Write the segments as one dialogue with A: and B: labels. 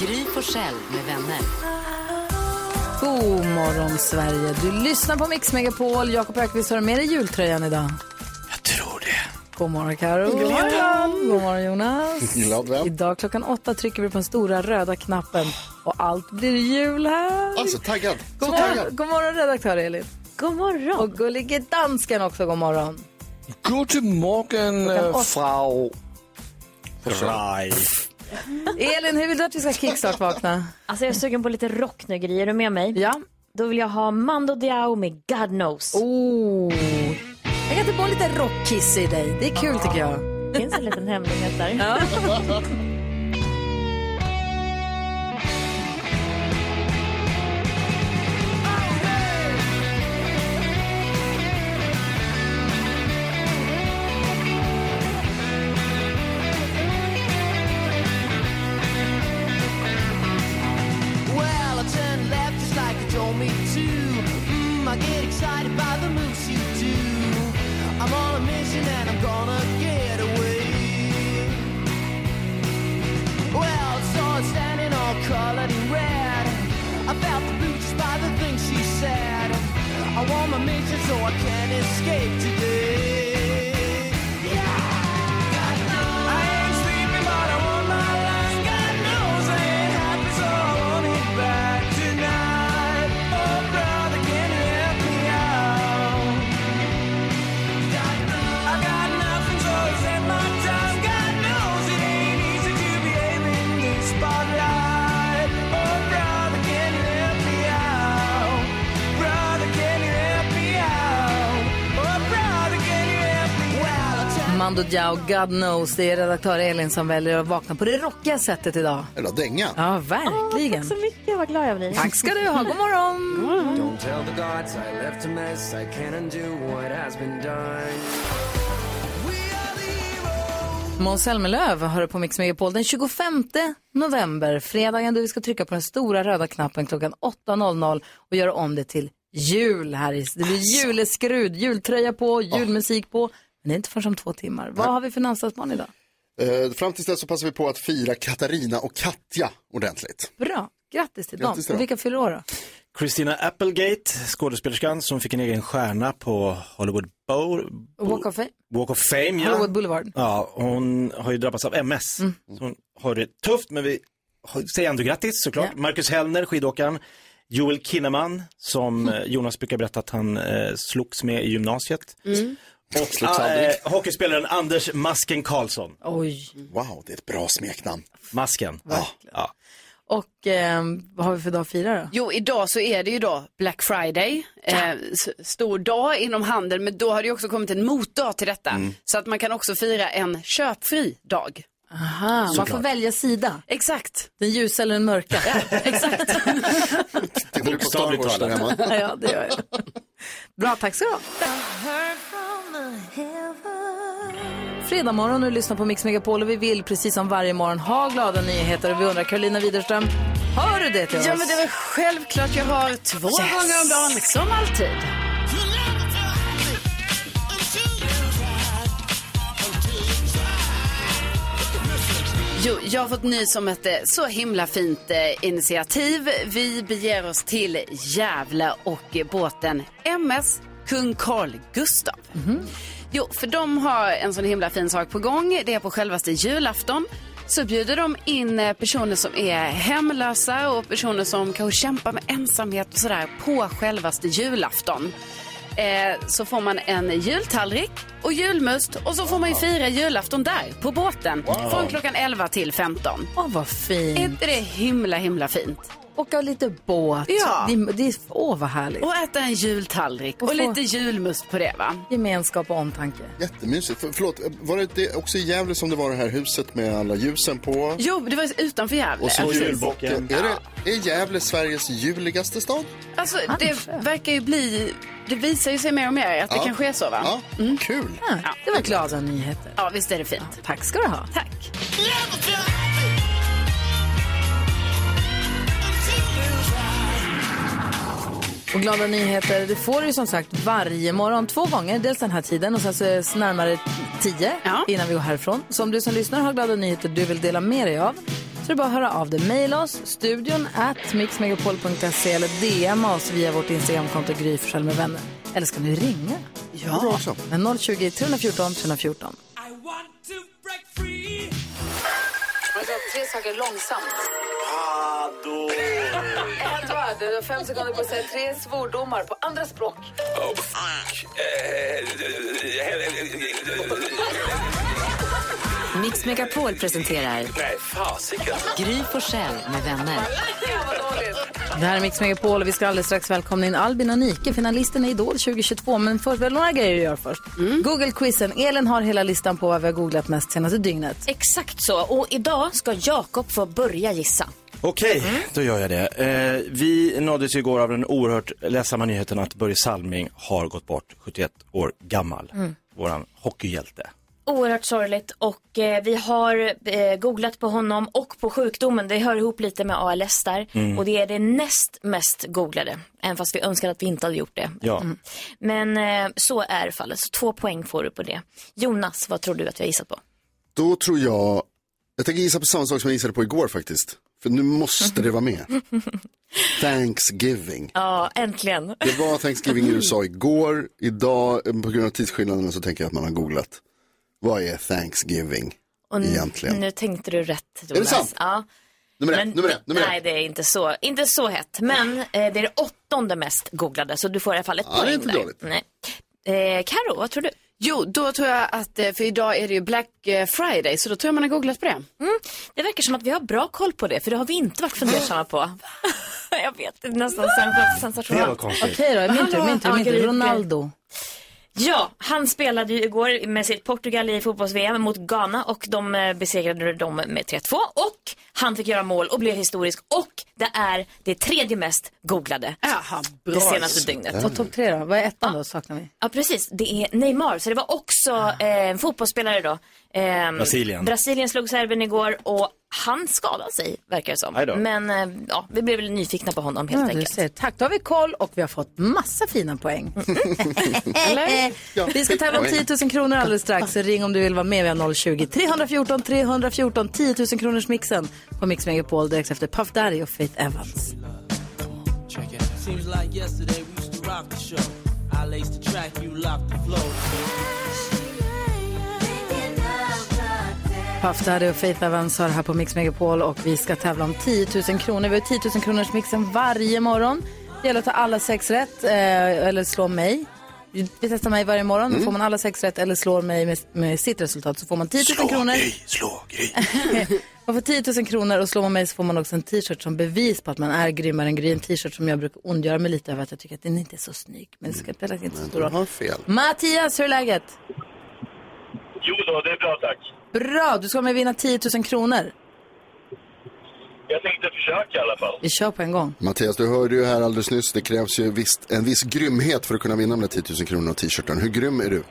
A: Gry Forssell med vänner.
B: God morgon Sverige. Du lyssnar på Mix Megapol. Jakob Ökvist har du med dig jultröjan idag?
C: Jag tror det.
B: God morgon Karo. God morgon. God morgon Jonas.
D: Glad vän.
B: Idag klockan åtta trycker vi på den stora röda knappen och allt blir jul här.
D: Alltså taggad.
B: God
D: Så
B: morgon,
D: taggad.
B: god morgon redaktör Elin. God morgon. Och gullige dansken också, god morgon.
C: Guten Morgen,
B: Klockan
C: äh,
B: åtta.
C: Frau Reif.
B: Elin, hur vill du att vi ska kickstart-vakna?
E: Alltså jag är sugen på lite rock nu Gry. Är du med mig?
B: Ja.
E: Då vill jag ha Mando Diao med God Knows.
B: Oh. Jag kan inte få lite rockkiss i dig. Det är kul tycker jag.
E: Det finns en liten hemlighet där. Ja.
F: Well, I turn left just like you told me to. Mmm, I get excited by the moves you do. I'm on a mission and I'm gonna get away. Well, I saw her standing all colored in red. I felt the blue just by the things she said. I want my mission so I can escape today. Yeah! God knows I ain't sleeping, but I want my life. God knows I ain't happy, so I want it back tonight. Oh, brother, can you help me out? God knows I got nothing, so except my time. God knows it ain't easy to behave in this spotlight. Oh, brother, can you help me out? Brother, can you help me out? Oh, brother, can you help me out?
B: Mando Diao, God knows. Det är redaktör Elin som väljer att vakna på det rockiga sättet idag.
D: Eller dänga.
B: Ja, verkligen.
E: Tack så mycket, vad glad jag blir.
B: Tack ska du ha. God morgon.
F: Don't tell the gods I left a mess. I can't undo what has been done.
B: Måns Zelmerlöw hör på Mix Megapol den 25 november, fredagen då vi ska trycka på den stora röda knappen klockan 8.00 och göra om det till jul här i. Det blir juleskrud, jultröja på, julmusik på. Men det är inte förrän om två timmar. Vad har vi för namnsdagsbarn idag?
D: Eh, fram tills dess så passar vi på att fira Katarina och Katja ordentligt.
B: Bra, grattis till
D: Grattis till dem.
B: dem. Och vilka fyller år då?
G: Christina Applegate, skådespelerskan som fick en egen stjärna på Hollywood Bowl,
B: Walk of Fame,
G: Walk of Fame. Ja.
B: Hollywood Boulevard. Mm.
G: ja, hon har ju drabbats av MS. Så hon har det tufft, men vi har- säger ändå grattis såklart.
B: Ja.
G: Marcus Hellner, skidåkaren. Joel Kinnaman, som eh, Jonas brukar berätta att han eh, slogs med i gymnasiet.
B: Mm.
G: Och
D: Slogs aldrig.
G: eh, hockeyspelaren Anders Masken Karlsson.
B: Oj.
D: Wow, det är ett bra smeknamn.
G: Masken. Ja.
B: Och ehm, vad har vi för dag att fira då?
H: Jo, idag så är det ju då Black Friday, eh, s- stor dag inom handeln, men då har det ju också kommit en motdag till detta.
D: Mm.
H: Så att man kan också fira en köpfri dag.
B: Aha, Ah, man får välja sida.
H: Exakt,
B: Den ljusa eller den mörka.
H: exakt.
D: Tittar du på Star
G: Bokstavligt
D: Wars där hemma?
B: ja, det gör jag. Bra, tack så du ha. Fredag morgon och du lyssnar på Mix Megapol och vi vill precis som varje morgon ha glada nyheter och vi undrar Carolina Widerström, hör du det till oss?
H: ja, men det är väl självklart jag har två gånger om dagen, som alltid. Jo, jag har fått nys om ett eh, så himla fint eh, initiativ. Vi beger oss till Gävle och eh, båten MS Kung Carl Gustaf. Jo, för de har en sån himla fin sak på gång. Det är på självaste julafton. Så bjuder de in eh, personer som är hemlösa och personer som kanske kämpar med ensamhet och sådär på självaste julafton. Eh, så får man en jultallrik och julmust och så får man ju fira julafton där på båten
B: Wow.
H: från klockan 11 till 15.
B: Åh, vad fint.
H: Är inte det himla, himla fint?
B: Åka lite båt.
H: Ja.
B: Det, det, är- åh, vad härligt.
H: Och äta en jultallrik och,
B: Och få-
H: lite julmust på det va?
B: Gemenskap och omtanke.
D: Jättemysigt. För, förlåt, eh, var det, det också i Gävle som det var det här huset med alla ljusen på?
H: Jo, det var utanför Gävle.
D: Och så
H: Precis.
D: julbocken. Är, det, är Gävle Sveriges juligaste stad?
H: Alltså det verkar ju bli, det visar ju sig mer och mer att det
D: Ja.
H: kanske är så va?
B: Mm.
H: Mm.
D: Ja, kul.
H: Ja,
B: det var glada nyheter.
H: Ja, visst är det fint.
B: Tack ska du ha.
H: Tack.
B: Och glada nyheter, det får du som sagt varje morgon två gånger. Dels den här tiden och sen så är det närmare tio innan vi går härifrån. Så om du som lyssnar har glada nyheter du vill dela med dig av så är det bara att höra av dig. Maila oss, studion at mixmegapol.se eller DM oss via vårt Instagramkonto Gry Forssell med vänner. Eller ska ni ringa?
D: Ja.
B: Men 020 314 314. Alltså, Tre saker långsamt. Ett varv, du har fem sekunder på att säga tre svordomar på andra språk.
F: Oh, fuck.
A: Mix Megapol presenterar
F: Nej, fasiken.
A: Gry Forssell med vänner.
B: Det här är Mix Megapol och vi ska alldeles strax välkomna in Albin och Nike, finalisterna i Idol 2022. Men först, vi har några grejer att göra först.
I: Mm.
B: Google-quizen. Elin har hela listan på vad vi har googlat mest senaste dygnet.
I: Exakt så. Och idag ska Jakob få börja gissa.
G: Okej, då gör jag det. Eh, vi nåddes ju igår av den oerhört ledsamma nyheten att Börje Salming har gått bort, 71 år gammal.
I: Mm.
G: Våran hockeyhjälte.
E: Oerhört sorgligt och eh, vi har eh, googlat på honom och på sjukdomen. Det hör ihop lite med ALS där
I: Mm.
E: och det är det näst mest googlade. Även fast vi önskar att vi inte hade gjort det.
I: Ja.
J: Mm.
E: Men eh, så är fallet. Så två poäng får du på det. Jonas, vad tror du att vi har gissat på?
D: Då tror jag, jag tänker gissa på samma sak som jag gissade på igår faktiskt. För nu måste det vara med. Thanksgiving.
E: Ja, äntligen.
D: Det var Thanksgiving i USA igår. Idag, eh, på grund av tidsskillnaden, så tänker jag att man har googlat. Vad är Thanksgiving
E: Och nu,
D: egentligen?
E: nu tänkte du rätt
D: det
E: Jonas.
D: sant?
E: Ja.
D: Nummer ett,
E: Mm. Men-
D: nummer ett, nummer
E: Nej,
D: ett.
E: det är inte så, inte så hett. Men eh, det är det åttonde mest googlade så du får i alla fall ett
H: Ja, det är
E: poäng
H: inte
E: där.
H: dåligt.
E: Nej. Eh, Karo, vad tror du?
H: Jo, då tror jag att, eh, för idag är det ju Black eh, Friday, så då tror jag man har googlat på det.
E: Mm, det verkar som att vi har bra koll på det, för det har vi inte varit fundersamma på. jag vet, det är nästan sens- sensationellt.
B: Det var konstigt. Okej då, min tur, min tur, min tur.
E: Okej.
B: Ronaldo.
E: Ja, han spelade ju igår med sitt Portugal i fotbolls-VM mot Ghana och de eh, besegrade dem med 3-2 och han fick göra mål och blev historisk och det är det tredje mest googlade det senaste dygnet.
B: Och topp tre då? Vad är ettan då, saknar vi?
E: Ja precis, det är Neymar. Så det var också eh, en fotbollsspelare då. Ehm,
G: Brasilien.
E: Brasilien slog Serbien igår och han skadade sig verkar det
G: Aj då.
E: som. Men eh, ja, vi blev väl nyfikna på honom helt
B: Ja, du
E: enkelt.
B: ser. Tack, då har vi koll och vi har fått massa fina poäng. Eller? Eh, Vi ska tävla om 10 000 kronor alldeles strax. Så ring om du vill vara med. Vi har 020 314 314 10 000 kronors mixen på Mix Megapol direkt efter Puff Daddy och Faith Evans.
F: Seems like yesterday we used to rock the show. I laced the track, you locked the flow.
B: Puff Daddy och Faith Evans har det här på Mix Megapol och vi ska tävla om 10 000 kronor. Vi har 10 000 kronors mixen varje morgon. Det gäller att ta alla sex rätt eh, eller slå mig. Vi testar mig varje morgon.
F: Mm.
B: Får man alla sex rätt eller slår mig med, med sitt resultat så får man 10 000 kronor.
F: slå Gry.
B: Man får 10 000 kronor och slår man mig så får man också en t-shirt som bevis på att man är grymmare än Gry. En t-shirt som jag brukar ondgöra mig lite över att jag tycker att den inte är så snygg. Men det ska spelar inte så stor roll.
D: har fel.
B: Mattias, hur är läget?
K: Jo då, det är bra tack.
B: Bra, du ska med vinna 10 000 kronor.
K: Jag tänkte försöka i alla fall.
B: Vi kör på en gång.
D: Mattias, du hörde ju här alldeles nyss, det krävs ju visst, en viss grymhet för att kunna vinna de där 10 000 kronorna och t-shirten. Hur grym är du?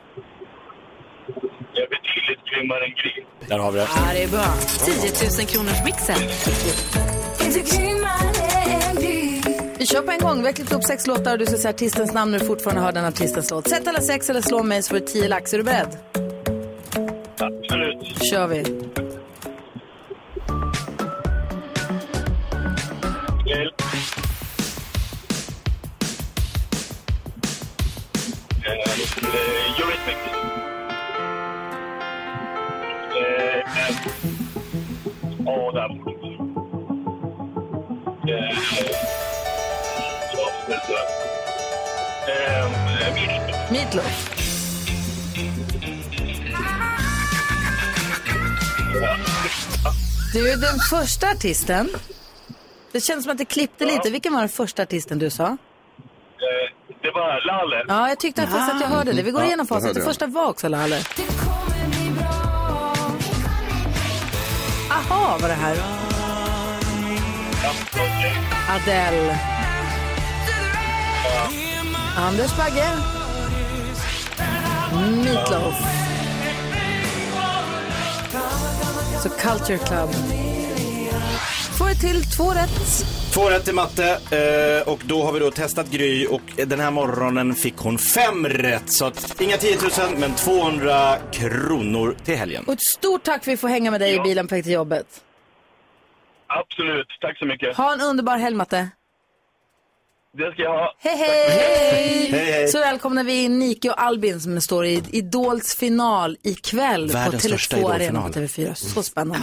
K: Jag är betydligt grymmare än Gry.
G: Där har vi det.
B: Ja, det är bra.
A: 10 000 kronors mixen.
B: Vi kör på en gång. Vi har klippt upp sex låtar och du ska säga artistens namn när du fortfarande hör den artistens låt. Sätt alla sex eller slå mig så får du 10 lax. Är du beredd?
K: Absolut.
B: kör vi.
K: Gail. Eh, eh, Eurythmics. Eh, eh. Åh, där var det. Eh, vad heter det? Eh, eh, Meat-
B: Meatloaf. Du är den första artisten. Det känns som att det klippte lite. Vilken var den första artisten du sa?
K: Eh, Det var Lalle.
B: Ja, jag tyckte faktiskt att jag hörde det. Vi går
K: Ah. Ja,
B: igenom
K: det hörde
B: facit. Det
K: jag.
B: första var också Lalle. Aha, var det här. Adele. Anders Bagge. Meatloaf. Så Culture Club. Får ett till två rätt.
G: Två rätt i matte eh, och då har vi då testat Gry och den här morgonen fick hon fem rätt. Så att, inga 10 000 men 200 kronor till helgen.
B: Och ett stort tack för att vi får hänga med dig i bilen på väg till jobbet.
K: Absolut, tack så mycket.
B: Ha en underbar helg, Matte.
K: Det ska jag ha.
B: Hej, hej!
K: Hej, hej.
B: Så välkomnar vi Nike och Albin som står i Idols final ikväll på
G: Världens största
B: Tele2 Arena på
G: Idolfinal.
B: TV4. Så spännande.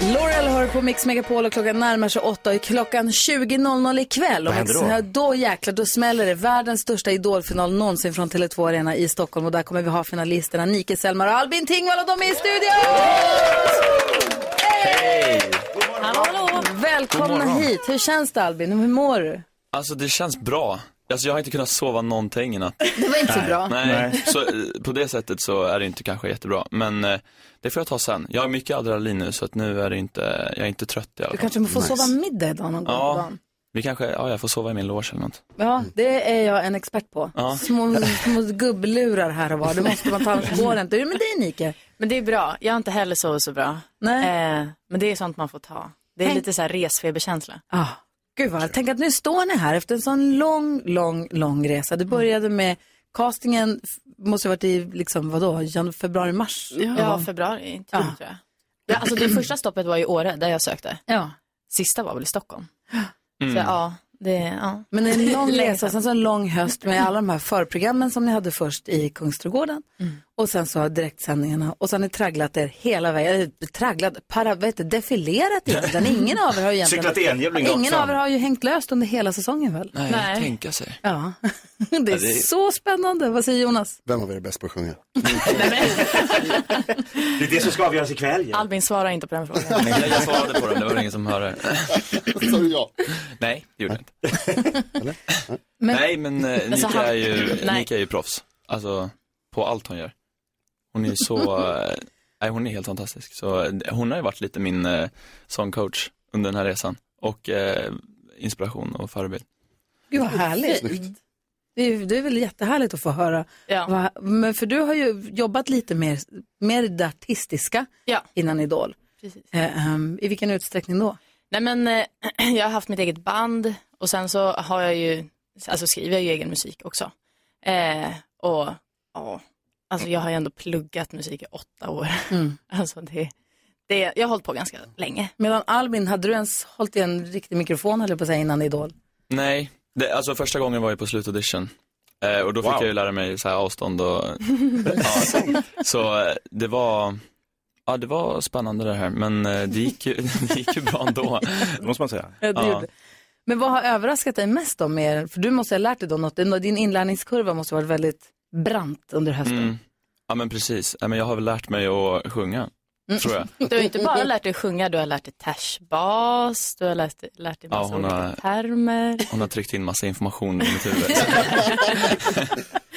B: Laurel hör på Mix Megapol och klockan närmar sig åtta och klockan 20.00 ikväll.
J: Vad
B: Och
J: händer då?
B: här- Då jäklar, då smäller det. Världens största idolfinal någonsin från Tele2 Arena i Stockholm och där kommer vi ha finalisterna Nike Selmar och Albin Tingvall och de är i studion! Hallå, hallå!
L: God
B: Välkomna
L: morgon.
B: hit. Hur känns det Albin? Hur mår du?
L: Alltså det känns bra. Alltså jag har inte kunnat sova någonting i natt.
B: Det var inte så bra.
L: Nej, så eh, på det sättet så är det inte kanske jättebra. Men eh, det får jag ta sen. Jag har mycket adrenalin nu så att nu är det inte, jag är inte trött i alla
B: Du
L: fall.
B: kanske får sova middag idag någon gång på
L: Ja,
B: dagen.
L: vi kanske, ja jag får sova i min loge eller något.
B: Ja, det är jag en expert på.
L: Ja.
B: Små, små gubblurar här och var. Det måste man ta, annars går det inte. Hur är det med dig Nike?
J: Men det är bra. Jag har inte heller sovit så bra.
B: Nej.
J: Eh, men det är sånt man får ta. Det är
B: Tänk-
J: lite så här resfeberkänsla.
B: Ah, gud vad Tänk att nu står ni här efter en sån lång, lång, lång resa. Det började med castingen, f- måste ha varit i liksom, vadå, jan- februari, mars?
J: Ja, februari, inte
B: Ja.
J: jul, tror jag. Ja, alltså det första stoppet var ju Åre, där jag sökte.
B: Ja.
J: Sista var väl i Stockholm.
B: Mm.
J: Så ja, det, ja.
B: Men en lång
J: Längtan.
B: resa, sen så en lång höst med alla de här förprogrammen som ni hade först i Kungsträdgården.
J: mm.
B: Och sen så direktsändningarna. Och sen har ni tragglat er hela vägen, eller tragglat, para, vad heter, det, defilerat egentligen. Ingen av er har ju egentligen...
L: Cyklat enhjuling rakt
B: Ingen
L: fram.
B: av er har ju hängt löst under hela säsongen väl?
L: Nej, tänka sig.
B: Ja, det är
D: det är-
B: så spännande. Vad säger Jonas?
D: Vem av er är bäst på att sjunga?
G: Det är det som ska avgöras ikväll.
J: Albin svarar inte på den frågan.
L: Jag, jag svarade på den, det var ingen som hörde.
D: Sa du ja?
L: Nej, det gjorde jag inte. Nej, men eh,
J: Alltså,
L: Nika
J: han-
L: är ju,
J: Nej.
L: Nika är ju proffs. Alltså, på allt hon gör. Hon är ju så, eh, nej hon är helt fantastisk. Så eh, hon har ju varit lite min eh, sångcoach under den här resan. Och eh, inspiration och förebild.
B: Gud vad härligt.
L: Snyggt.
B: Det är, det är väl jättehärligt att få höra. Va- Men för du har ju jobbat lite mer, mer det artistiska innan Idol.
J: Precis.
B: Eh, ehm, I vilken utsträckning då?
J: Nej men eh, jag har haft mitt eget band och sen så har jag ju, alltså skriver jag ju egen musik också. Eh, och ja, alltså jag har ju ändå pluggat musik i åtta år.
B: Mm.
J: Alltså det, det, jag har hållit på ganska länge.
B: Medan Albin, hade du ens hållit i en riktig mikrofon höll jag på att säga innan Idol?
L: Nej, det, alltså första gången var ju på slutaudition. Eh, och då fick jag ju lära mig så här avstånd och, ja. så eh, det var, ja det var spännande det här, men eh, det gick ju, det gick ju bra ändå. Det måste man säga.
B: Ja, Eh, det gjorde. Men vad har överraskat dig mest då med er? För du måste ha lärt dig då något. Din inlärningskurva måste ha varit väldigt brant under hösten.
L: Mm. Ja men precis, ja, men jag har väl lärt mig att sjunga,
B: Mm.
L: tror jag.
J: Du har ju inte bara lärt dig sjunga, du har lärt dig tashbas, du har lärt, lärt dig
L: Ja,
J: massa
L: hon
J: olika
L: har-
J: termer.
L: Hon har tryckt in massa information i mitt huvud.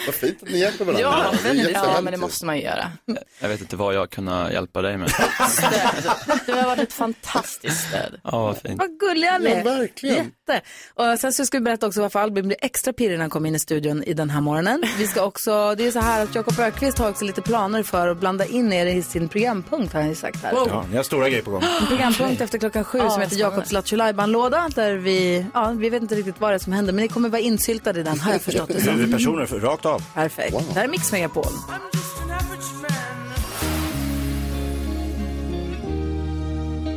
D: Vad fint att ni hjälper varandra.
J: Ja,
D: Det är
J: ja,
D: jättehärligt
J: men det
D: ju.
J: måste man ju göra.
L: Jag vet inte vad jag kunde hjälpa dig med.
J: Du har varit ett fantastiskt stöd.
L: Ja vad fint.
B: Vad gulliga ni är.
J: Ja, verkligen.
B: Jätte. Och sen så ska vi berätta också varför Albin blev extra pirrig när han kom in i studion i den här morgonen. Vi ska också, det är så här att Jakob Ökvist har också lite planer för att blanda in er i sin programpunkt har han ju sagt här.
M: Ja, ni har stora grejer på gång.
B: En programpunkt efter klockan sju
M: Ja,
B: som heter
M: spännande.
B: Jakobs Lattjo-lajban-låda där vi, ja vi vet inte riktigt vad det är som händer men ni kommer vara insyltade i den har jag förstått det som.
M: Huvudpersoner, för- rakt av.
B: Perfekt. Det här är Mix Megapol.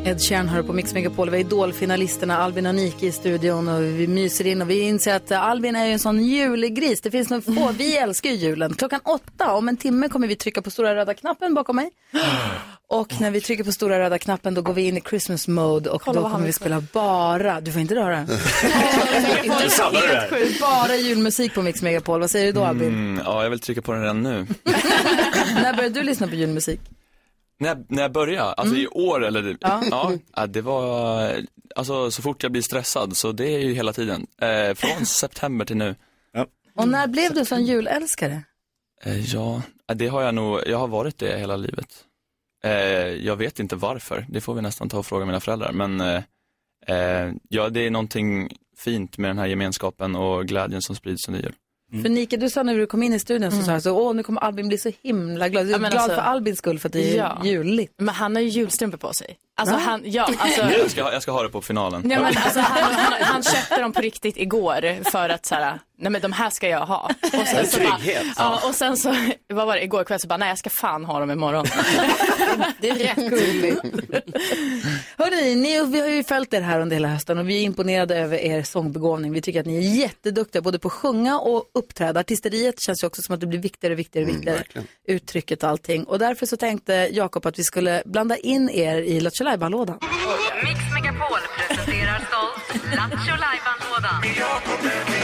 B: Ed Sheeran hör på Mix Megapol. Vi är idolfinalisterna Albin och Niki i studion och vi myser in och vi inser att eh, Albin är ju en sån julgris. Det finns nog få. Vi älskar ju julen. Klockan åtta om en timme kommer vi trycka på stora röda knappen bakom mig. Och när vi trycker på stora röda knappen då går vi in i Christmas mode och
J: Kolla
B: då
J: vad
B: kommer
J: han
B: vi
J: är
B: spela bara, du får inte röra den.
G: Du sabbar det där.
B: bara julmusik på Mix Megapol. Vad säger du då Albin?
L: Mm, ja, jag vill trycka på den redan nu.
B: när började du lyssna på julmusik?
L: När jag, när jag började, alltså
J: Mm.
L: i år eller?
B: Ja.
L: Ja. ja, det var, alltså så fort jag blir stressad, så det är ju hela tiden. Eh, från september till nu. Ja.
B: Och när blev du sån julälskare?
L: Eh, ja, det har jag nog, jag har varit det hela livet. Eh, jag vet inte varför, det får vi nästan ta och fråga mina föräldrar, men eh, eh, ja, det är någonting fint med den här gemenskapen och glädjen som sprids under jul.
B: För Nike, du sa när du kom in i studion så sa jag så, åh nu kommer Albin bli så himla glad. Du är
J: Ja, men
B: glad
J: alltså-
B: för Albins skull för att det är
J: Ja.
B: juligt.
J: Men han har ju julstrumpor på sig. Alltså
B: Va?
J: han, ja, alltså.
L: Jag, ska, ha- jag ska ha det på finalen.
J: Nej, men alltså han, han, han köpte dem på riktigt igår för att så här, nej men de här ska jag ha. Och
L: En
J: så bara,
L: trygghet.
J: ja, och sen så, vad var det, igår kväll så bara, nej jag ska fan ha dem imorgon.
B: Det är rätt gulligt. Hörrni, ni, vi har ju följt er här under hela hösten och vi är imponerade över er sångbegåvning. Vi tycker att ni är jätteduktiga både på att sjunga och uppträda. Artisteriet känns ju också som att det blir viktigare och viktigare, och viktigare. uttrycket och allting. Och därför så tänkte Jakob att vi skulle blanda in er i Lattjo Lajban-lådan.
A: Mix Megapol presenterar stolt Lattjo Lajban-lådan.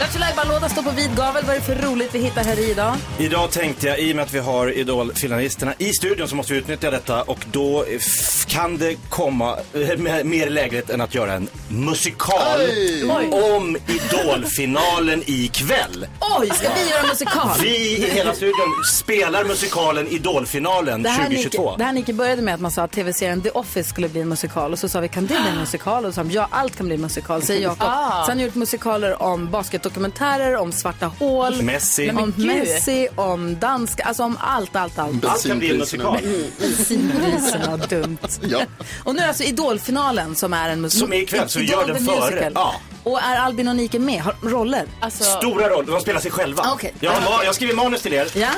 B: Lattjo Lajban-lådan står på vid gavel. Vad är det för roligt vi hittar här i idag?
G: Idag tänkte jag, i och med att vi har idolfinalisterna i studion så måste vi utnyttja detta och då eh, f- kan det komma eh, mer- mer lägligt än att göra en musikal
B: Oj! Oj.
G: om idolfinalen ikväll.
B: Oj, ska vi göra musikal?
G: Vi i hela studion spelar musikalen Idolfinalen
B: Det här, Nike,
G: 2022.
B: det här Nike började med att man sa att tv-serien The Office skulle bli en musikal och så sa vi kan det
G: Ah.
B: bli en musikal? Och så sa de, ja allt kan bli en musikal, säger Jakob.
J: Ah.
B: Sen har jag gjort musikaler om basketdokumentärer, om svarta hål,
G: Messi.
B: om
G: Nej, men gud.
B: Messi, om danska, alltså om allt, allt, allt.
G: Allt kan bli en musikal.
B: Bensinpriserna, dumt.
D: Ja.
B: Och nu är det alltså Idolfinalen som är en musikal.
G: Som är ikväll, så vi gör den före. Ja. Alltså-
B: Och är Albin och Nike med? Har de roller?
G: Stora roll, de spelar sig själva.
B: Ah, Okej.
G: Jag, har, ma- jag har skrivit manus till er.
B: Ja.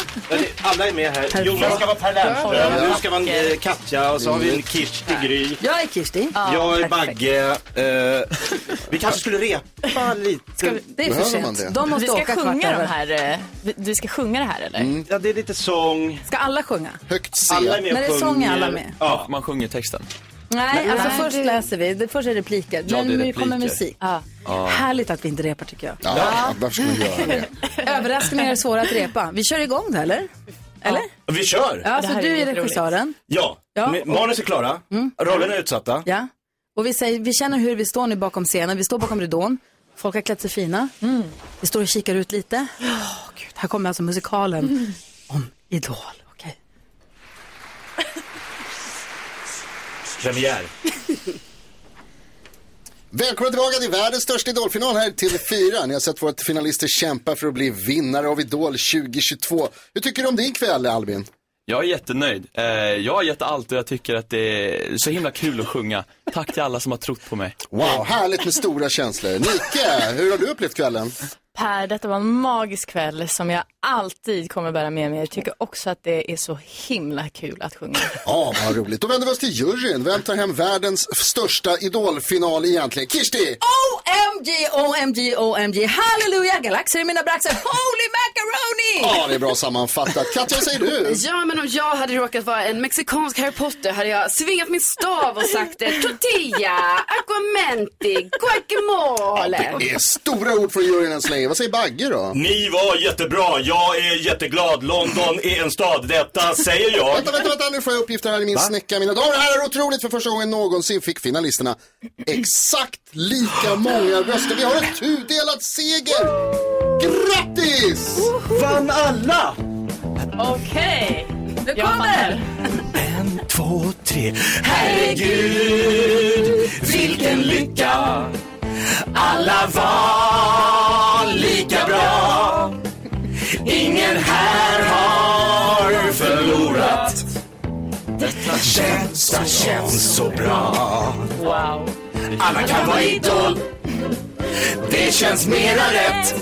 G: Alla är med här.
B: Perfekt.
G: Jonas ska vara Per Lernström,
B: Ja. Mm.
G: du ska vara en, eh, Katja och så har vi en Kirsti Gry.
B: Jag är Kirsti.
G: Jag är
B: Perfekt.
G: Bagge. Eh, vi kanske skulle repa lite.
B: det är för Behöver sent. man det? De måste
J: vi ska
B: åka kvart
J: sjunga
B: över.
J: de här, eh, vi, vi ska sjunga det här eller?
G: Ja, det är lite sång.
B: Ska alla sjunga?
D: Högt
B: C. Alla är med och När det är sång är alla sjunger. med.
L: Ja. Man sjunger texten.
B: Nej,
J: Men-
B: alltså
J: Nej,
B: först
J: det-
B: läser vi. Det först är repliker.
L: Ja,
B: Men
L: det är
B: nu kommer
L: repliker.
B: musik.
L: Ja.
B: Härligt att vi inte repar tycker jag.
D: Ja, varför skulle vi göra det?
B: Överraskningar är svåra att repa. Vi kör igång det, eller? Eller?
G: Vi kör!
B: Ja, så du är regissören.
G: Ja,
B: Ja, Mm.
G: men
B: och-
G: manus är klara. Rollerna är utsatta.
B: Ja. Och vi, säger, vi känner hur vi står nu bakom scenen. Vi står bakom ridån. Folk har klätt sig fina. Vi står och kikar ut lite. Åh, Gud. Här kommer alltså musikalen om Idol.
G: Premiär.
D: Välkomna tillbaka till världens största idolfinal här i TV4. Ni har sett våra finalister kämpa för att bli vinnare av Idol 2022. Hur tycker du om din kväll, Albin?
L: Jag är jättenöjd. Eh, jag har gett allt och jag tycker att det är så himla kul att sjunga. Tack till alla som har trott på mig.
D: Wow, härligt med stora känslor. Nike, hur har du upplevt kvällen?
J: Per, detta var en magisk kväll som jag alltid kommer bära med mig. Jag tycker också att det är så himla kul att sjunga.
D: Ja, vad roligt. Då vänder vi oss till juryn. Vem tar hem världens största idolfinal egentligen? Kirsti!
B: OMG, OMG, OMG. Halleluja, galaxer i mina braxer. Holy macaroni!
D: Ja, det är bra sammanfattat. Katja, vad säger du?
H: Ja, men om jag hade råkat vara en mexikansk Harry Potter hade jag svingat min stav och sagt eh, tortilla, aguamenti, guacamole.
D: Det är stora ord från juryn än så länge. Vad säger Bagge då?
G: Ni var jättebra, jag är jätteglad. London är en stad, detta säger jag.
D: Vänta, vänta, vänta, nu får jag uppgifter här i min snäcka. Mina damer och herrar, otroligt för första gången någonsin fick finalisterna exakt lika många röster. Vi har en tudelad seger! Grattis!
G: Vann alla!
J: Okej,
B: nu kommer!
G: Två, tre. Herregud, vilken lycka. Alla var lika bra. Ingen här har förlorat. Detta känns, det känns så bra.
J: Wow.
G: Alla kan vara idol. Det känns mera rätt.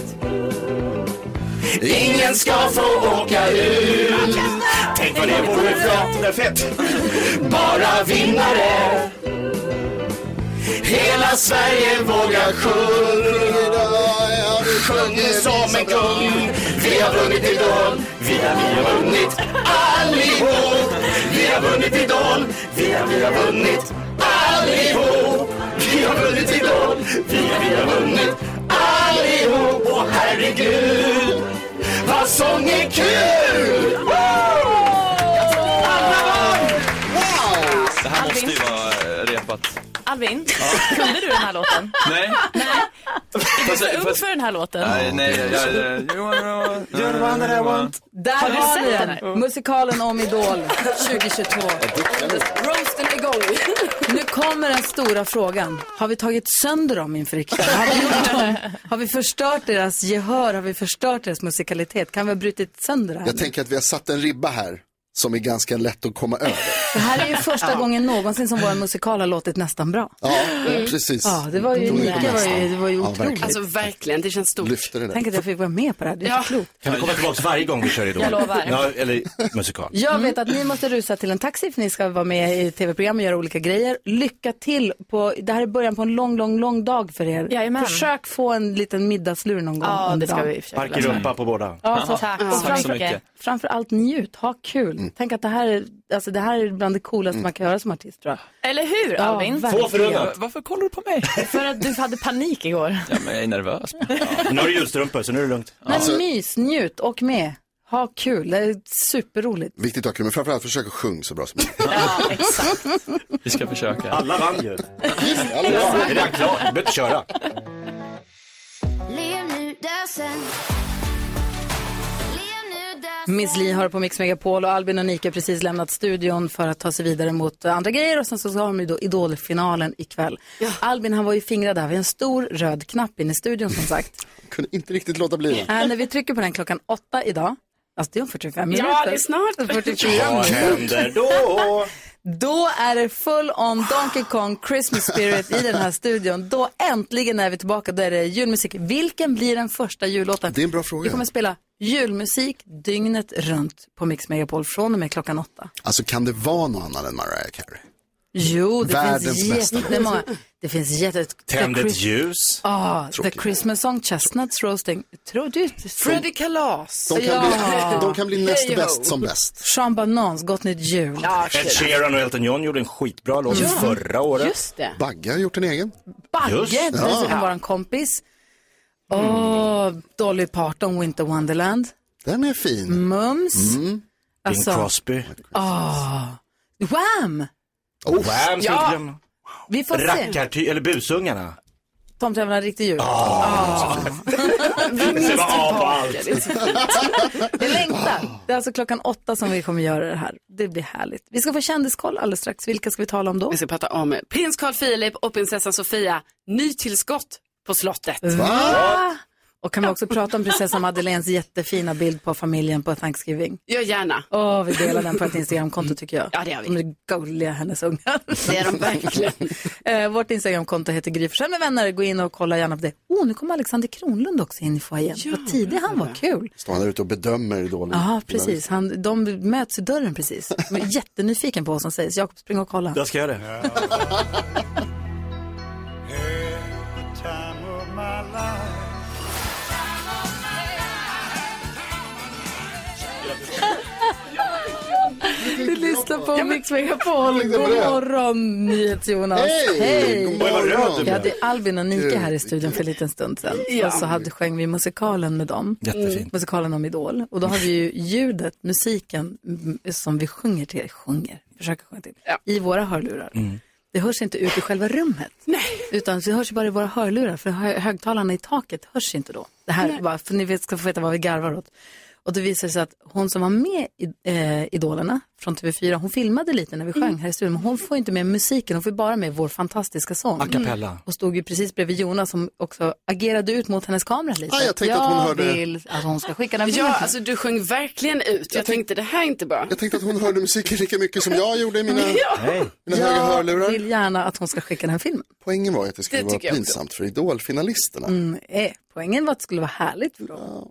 G: Ingen ska få åka ut. Tänk vad det vore flott. Bara vinnare.
F: Hela Sverige vågar sjunga. Vi sjunger som en kung. Vi har vunnit Idol. Vi har, vi har vunnit allihop. Vi har vunnit Idol. Vi har, vi har vunnit allihop. Vi har vunnit Idol. Vi har, vi har vunnit allihop. Åh herregud, vad sång är kul!
D: Wow!
L: Det här måste ju vara eh, repat.
J: Alvin, kunde du den här låten?
L: Nej.
J: Är du för ung för den här låten?
L: Nej, nej, jag, jag, You're the one that I want.
B: Där har,
J: Har du sett
B: ni
J: den
B: den,
J: här?
B: musikalen om Idol 2022. Roasten är igång. Nu kommer den stora frågan. Har vi tagit sönder dem inför riksdagen? Har vi, gjort dem? har vi förstört deras gehör? Har vi förstört deras musikalitet? Kan vi ha brutit sönder det här?
D: Jag tänker att vi har satt en ribba här som är ganska lätt att komma över.
B: Det här är ju första gången någonsin som vår musikal har låtit nästan bra.
D: Ja, eh, precis.
B: Ja, det var ju
D: Då är
B: unika, det var ju- det var ju
D: Ja,
B: otroligt.
D: verkligen.
H: Alltså verkligen, det känns stort.
D: Lyfter det där.
B: Tänk att jag fick vara med på det här, det är så klokt.
G: Kan vi komma tillbaka varje gång vi kör Idol?
B: Jag lovar.
G: Ja, eller musikal.
B: Jag
J: Mm.
B: vet att ni måste rusa till en taxi för ni ska vara med i tv-program och göra olika grejer. Lycka till! På, det här är början på en lång, lång, lång dag för er.
J: Jajamän.
B: Försök få en liten middagslur någon gång
L: Mm.
J: Ja,
B: under
J: det ska
B: dagen.
J: vi
G: Park i rumpa på båda.
B: Ja, så,
J: Tack.
B: och
J: Tack så
B: framför-
J: mycket.
B: Framför allt njut, ha kul. Tänk att det här, är, alltså, det här är bland det coolaste man kan göra som artist tror jag.
J: Eller hur
B: Ja,
J: Alvin?
B: verkligen. Få förunnat.
J: Varför kollar du på mig? För att du hade panik igår.
L: Ja, men jag är nervös.
G: Nu har du julstrumpor så nu är det lugnt.
B: Men mys, njut, och med. Ha kul, det är superroligt.
D: Viktigt att ha kul, men framförallt försök att sjunga så bra som möjligt.
L: Vi ska försöka.
G: Alla vann ju.
D: Alla vann.
G: Det är redan klart, du behöver inte köra.
F: Lev nu, dö sen.
B: Miss Li har på Mix Megapol och Albin och Nike har precis lämnat studion för att ta sig vidare mot eh, andra grejer och sen så har de ju då idolfinalen ikväll. Albin han var ju fingrad där vid en stor röd knapp inne i studion som sagt.
D: Kunde inte riktigt låta bli det.
B: äh, när vi trycker på den klockan åtta idag, alltså det är om 45 minuter.
H: Ja, det är snart.
B: 44
H: Vad
B: minuter.
H: händer då?
B: Då är det full on Donkey Kong Christmas spirit i den här studion. Då äntligen är vi tillbaka, då är det julmusik. Vilken blir den första jullåten?
D: Det är en bra fråga.
B: Vi kommer spela julmusik dygnet runt på Mix Megapol från och med klockan åtta.
D: Alltså kan det vara någon annan än Mariah Carey?
B: Jo, det
D: Världens
B: finns
D: bästa
B: jättemånga. Det finns jätte...
G: Tänd
B: The
G: ett
B: Chris-
G: ljus.
B: Ah, The Christmas Song, Chestnuts Roasting. Tror du?
H: Freddy Kalas.
D: De kan, bli, de kan bli näst bäst som bäst.
B: Sean Banans, Gott Nytt Jul.
G: Ed Sheeran och Elton John gjorde en skitbra låt
B: Ja.
G: förra året.
B: Just det.
D: Bagge har gjort en egen.
B: Bagge,
G: Just det.
B: dessutom
D: Ja.
B: våran kompis. Åh, Dolly Parton, Winter Wonderland.
D: Den är fin.
B: Mums.
G: Mm.
B: Alltså,
G: Bing Crosby.
B: Åh. Wham!
G: Oh, Wham, ska
B: Ja.
G: vi glömma.
B: Vi får se.
G: Rackarty, eller busungarna. Ah.
B: Tomten har riktigt jul.
D: Ah.
G: Det var A på allt.
B: Vi längtar. Det är alltså klockan åtta som vi kommer göra det här. Det blir härligt. Vi ska få kändiskoll alldeles strax. Vilka ska vi tala om då?
H: Vi ska prata om prins Carl Philip och prinsessan Sofia, nytillskott på slottet.
B: Va? Och kan vi också prata om prinsessa Madeleines jättefina bild på familjen på Thanksgiving?
H: Gör gärna.
B: Åh, vi delar den på ett Instagramkonto tycker jag. Ja, det gör vi. De är gulliga, hennes ungar.
H: Det är de verkligen.
B: Eh, vårt Instagramkonto heter Gry Forssell med vänner. Gå in och kolla gärna på det. Åh, oh, nu kommer Alexander Kronlund också in i foajén. Vad tidig han var, kul.
D: Står han där ute och bedömer dåligt.
B: Ja, precis. Han, de möts i dörren precis. De är jättenyfiken på vad som sägs. Jakob, spring och kolla.
G: Jag ska göra det.
B: Du lyssnar på Mix Megapol.
F: på
B: God
F: det.
B: morgon, NyhetsJonas.
F: Hej! God morgon. Oj, vad röd du
B: Ja,
F: blev.
B: det är Albin och Nike här i studion för en liten stund sedan.
F: Ja.
B: Och så hade, sjöng vi musikalen med dem. Mm.
F: Jättefint.
B: Musikalen om Idol. Och då har vi ju ljudet, musiken mm, som vi sjunger till, sjunger, försöker sjunga till, i våra hörlurar. Det hörs inte ut i själva rummet. Utan det hörs ju bara i våra hörlurar, för hö- högtalarna i taket hörs inte då. Det här
H: Nej.
B: bara, för ni vet, ska få veta vad vi garvar åt. Och det visar sig att hon som var med i eh, Idolerna från TV4, hon filmade lite när vi
H: Mm.
B: sjöng här i studion, men hon får inte med musiken, hon får bara med vår fantastiska sång. Mm.
G: A cappella.
B: Och stod ju precis bredvid Jonas som också agerade ut mot hennes kamera lite.
H: Ah, jag tänkte att hon hörde-
B: vill att hon ska skicka den bilden
H: Ja,
B: till
H: alltså du sjöng verkligen ut. Jag, tänkte det här är inte bra.
D: Jag tänkte att hon hörde musiken lika mycket som jag gjorde i mina, mina höga
B: Jag
D: hörlurar.
B: vill gärna att hon ska skicka den här filmen.
D: Poängen var ju att det skulle
B: Det
D: vara
B: tycker jag också.
D: pinsamt för idolfinalisterna.
B: Mm, eh, poängen var att det skulle vara härligt för dem.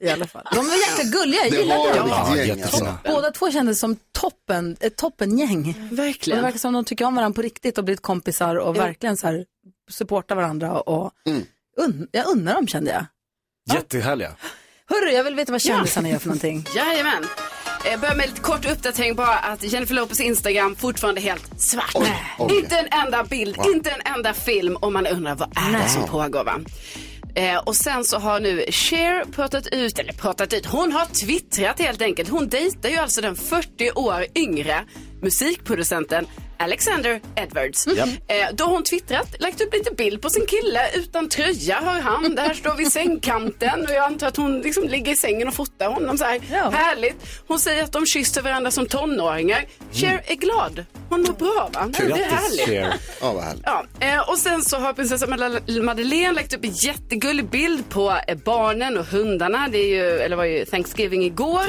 B: I alla fall. De var jäkla gulliga, jag
D: Det
B: gillade
D: var
B: dem.
D: ett gäng, alltså.
B: Båda två kändes som toppen, ett toppengäng.
H: Verkligen.
B: Och det verkar som de tycker om varandra på riktigt och blivit kompisar och verkligen så här supporta varandra och
D: Mm.
B: un, jag undrar dem kände jag.
G: Jättehärliga.
B: Hörru, jag vill veta vad kändisarna gör för någonting.
H: Jajamän. Jag börjar med lite kort uppdatering bara att Jennifer Lopez Instagram fortfarande är helt svart.
F: oj.
H: Inte en enda bild,
F: Wow.
H: inte en enda film om man undrar vad är det
F: Nej.
H: som pågår va? Eh, och sen så har nu Cher pratat ut, eller pratat ut, hon har twittrat helt enkelt. Hon dejtar ju alltså den 40 år yngre musikproducenten Alexander Edwards.
F: Japp.
H: Eh, då har hon twittrat, lagt upp lite bild på sin kille utan tröja hör han. Där står vi i sängkanten och jag antar att hon liksom ligger i sängen och fotar honom så här. Härligt. Hon säger att de kysste varandra som tonåringar. Cher är glad. Hon mår bra va? Det är härligt.
D: Ja, vad härligt.
H: Ja, eh, och sen så har prinsessa Madele- Madeleine lagt upp en jättegullig bild på eh, barnen och hundarna. Det är ju, eller var ju Thanksgiving igår.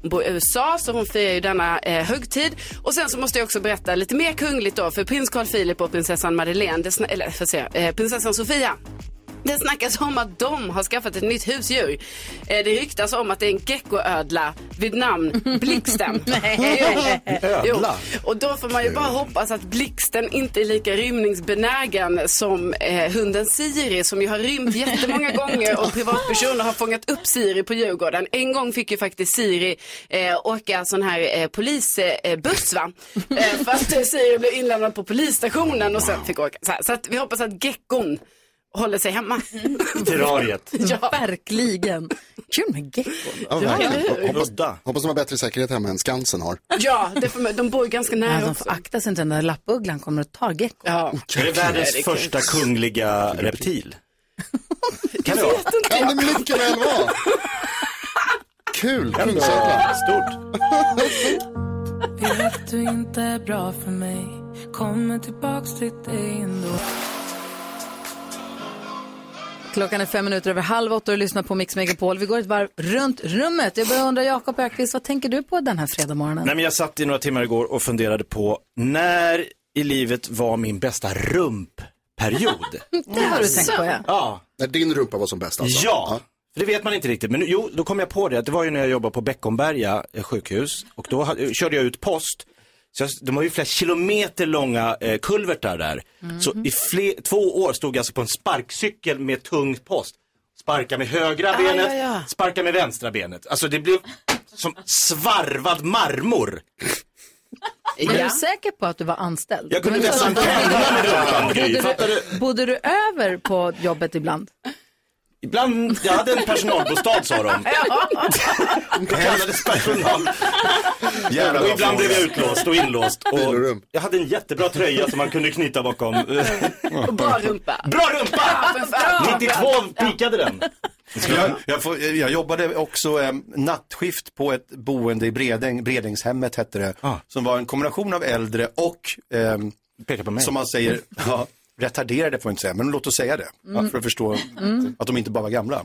H: Hon bor i USA så hon firar ju denna eh, högtid. Och sen så måste jag också berätta lite mer kungligt då för prins Carl Philip och prinsessan Madeleine, det sna- eller får säga, eh, prinsessan Sofia. Det snackas om att de har skaffat ett nytt husdjur. Eh, Det ryktas om att det är en geckoödla vid namn Blixten.
F: Nej.
H: Jo.
F: Ödla?
H: Och då får man ju bara hoppas att blixten inte är lika rymningsbenägen som eh, hunden Siri som ju har rymt jättemånga gånger och privatpersoner har fångat upp Siri på Djurgården. En gång fick ju faktiskt Siri eh, åka sån här eh, polisbuss eh, buss, va? Eh, för att eh, Siri blev inlämnad på polisstationen och sen fick åka. Så, här. så att vi hoppas att geckon håller sig hemma.
G: Terrariet.
H: Ja.
B: Verkligen. Kul med geckon.
D: Ja, verkligen.
H: eller hur?
D: hoppas, hoppas de har bättre säkerhet hemma än Skansen har.
H: Ja, det får, man- de bor ju ganska nära
B: Nej, de
H: också.
B: får akta sig inte, den där lappugglan kommer och tar gecko.
H: Ja.
G: Det är världens första kungliga reptil. Kan det vara?
D: Kan det mycket väl vara. Kul, Kungsöppla. Stort.
F: Vet du inte är bra för mig Kommer tillbaks till dig ändå
B: Klockan är fem minuter över halv åtta och lyssnar på Mix Megapol. Vi går ett varv runt rummet. Jag börjar undra, Jakob Ökvist, vad tänker du på den här fredagmorgonen?
G: Nej, men jag satt i några timmar igår och funderade på när i livet var min bästa rumpperiod?
B: Det har du tänkt på, ja.
G: Ja.
D: När din rumpa var som bäst alltså.
G: Ja, för det vet man inte riktigt. Men nu- jo, då kom jag på det. att Det var ju när jag jobbade på Beckomberga eh, sjukhus och då hade, körde jag ut post. Så jag, de har ju flera kilometer långa eh, kulvertar där. Så i fler, två år stod jag alltså på en sparkcykel med tung post. Sparka med högra
F: Ah,
G: benet,
F: ja, ja.
G: sparka med vänstra benet. Alltså det blev som svarvad marmor.
B: Är du säker på att du var anställd?
G: Jag kunde
B: Det var
G: nästan
B: så att de-
G: pendla med rumpan, Gry,
B: Bodde
G: fattar
B: du- Bodde du över på jobbet ibland?
G: Ibland, jag hade en personalbostad sa de. Det kallades personal.
D: Jävlar,
G: och
D: vad
G: ibland blev jag
D: farligt.
G: utlåst och inlåst. Och jag hade en jättebra tröja som man kunde knyta bakom.
H: Bra rumpa.
G: Bra rumpa! 92 pikade den.
N: Jag, jag, får, jag jobbade också eh, nattskift på ett boende i Bredäng, Bredängshemmet hette det,
F: Ah.
N: som var en kombination av äldre och, ehm, som man säger, ja, retarderade får jag inte säga, men låt oss säga det, ja,
F: Mm.
N: för att förstå
F: Mm.
N: att de inte bara var gamla.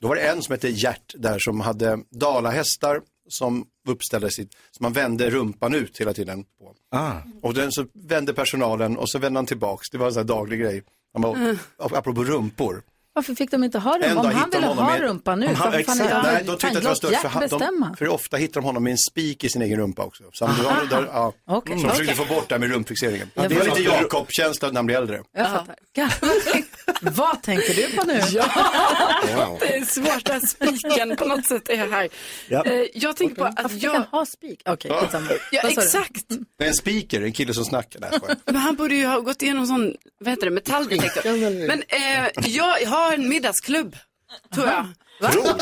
N: Då var det en som hette Gert där som hade dalahästar som uppställdes, i, som man vände rumpan ut hela tiden på.
F: Ah.
N: Och den så vände personalen och så vände han tillbaks, det var en sån här daglig grej. Han bara,
B: Mm.
N: apropå rumpor.
B: Varför fick de inte ha
N: En
B: rumpan?
N: dag
B: Om han
N: hittade
B: ville
N: de honom
B: ha
N: i-
B: rumpan nu,
N: Om
B: varför fan
N: exakt,
B: inte ha
N: nej,
B: den?
N: de tyckte
B: Fan,
N: att det var
B: låt
N: stört för,
B: Jack
N: han,
B: bestämma.
N: de, för ofta hittade de honom med en spik i sin egen rumpa också. Så han, det
B: Aha.
N: var, där, ja,
B: Okej.
N: Så de försökte
B: Okej.
N: få bort det här med rumpfixeringen.
B: Jag
N: det var
B: förstår.
N: lite Jakob-känsla när han blev äldre.
B: Jag fattar. Vad tänker du på nu?
N: Wow.
H: Det är svårt att spiken på något sätt är här.
N: Ja.
H: Eh, Jag tänker på att
B: Jag
H: jag...
B: kan ha spik. Okej,
N: Ja.
B: skitsamma.
H: Ja,
B: Vad sa du?
H: exakt.
N: Det är en speaker, en kille som snackar. Nej, jag skojar.
H: Men han borde ju ha gått igenom sån, vad heter det, metalldetektor. Men eh, jag har en middagsklubb, tror jag. Va? Ja,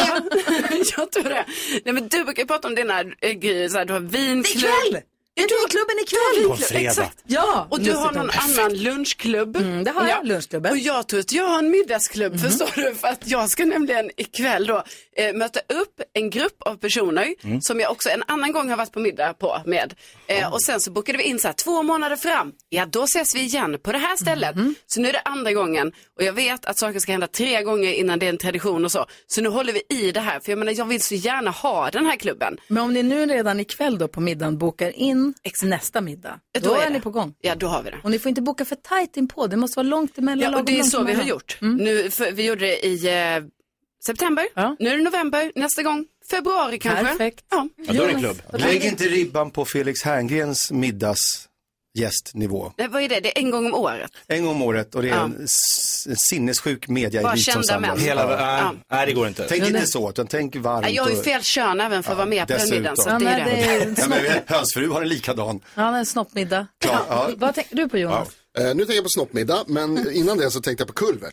H: jag tror det. Nej men du brukar ju prata om dina eh, grejer, så här, du har vinklubb.
B: Ikväll!
H: Ja, du har klubben ikväll.
B: På fredag.
H: Exakt.
B: Ja,
H: och du har
B: lustigt
H: någon
B: nog.
H: annan lunchklubb.
B: Mm, det har jag, Mhm. lunchklubben.
H: Och jag tror att jag har en middagsklubb, förstår du? För att jag ska nämligen ikväll då eh, möta upp en grupp av personer
F: Mm.
H: som jag också en annan gång har varit på middag på med. Eh, och sen så bokade vi in så här två månader fram. Ja, då ses vi igen på det här stället.
B: Mhm.
H: Så nu är det andra gången och jag vet att saker ska hända tre gånger innan det är en tradition och så. Så nu håller vi i det här, för jag menar jag vill så gärna ha den här klubben.
B: Men om ni nu redan ikväll då på middagen bokar in nästa middag,
H: Ja,
B: då,
H: då är
B: är
H: det.
B: ni på gång.
H: Ja, då har vi det.
B: Och ni får inte boka för tajt inpå, det måste vara långt emellan.
H: Ja, och
B: lagom
H: det är
B: långt
H: så vi har
B: emellan.
H: gjort. Nu, för, vi gjorde det i eh, september, nu är det november, nästa gång februari kanske.
B: Perfekt.
H: Ja.
N: Lägg inte ribban på Felix Herngrens middags gästnivå.
H: Nej, Vad är det? Det är en gång om året.
N: En gång om året och det är
H: Ja.
N: en s- en sinnessjuk
H: Bara
N: mediaelit som
H: kända män.
N: samlas.
H: Hela- Ja.
G: Nej, det går inte.
N: Tänk
H: Men
N: inte
H: det-
N: så, utan tänk varmt.
H: Nej, Jag har ju
N: och-
H: fel kön även för att vara med på den
N: Dessutom.
H: middagen. Så det är det.
N: ja, men, hönsfru har en likadan.
B: Han är en snoppmiddag.
D: Klart, ja.
B: Vad tänker du på Jonas?
D: Eh, nu tänker jag på snoppmiddag, men innan det så tänkte jag på kulvert.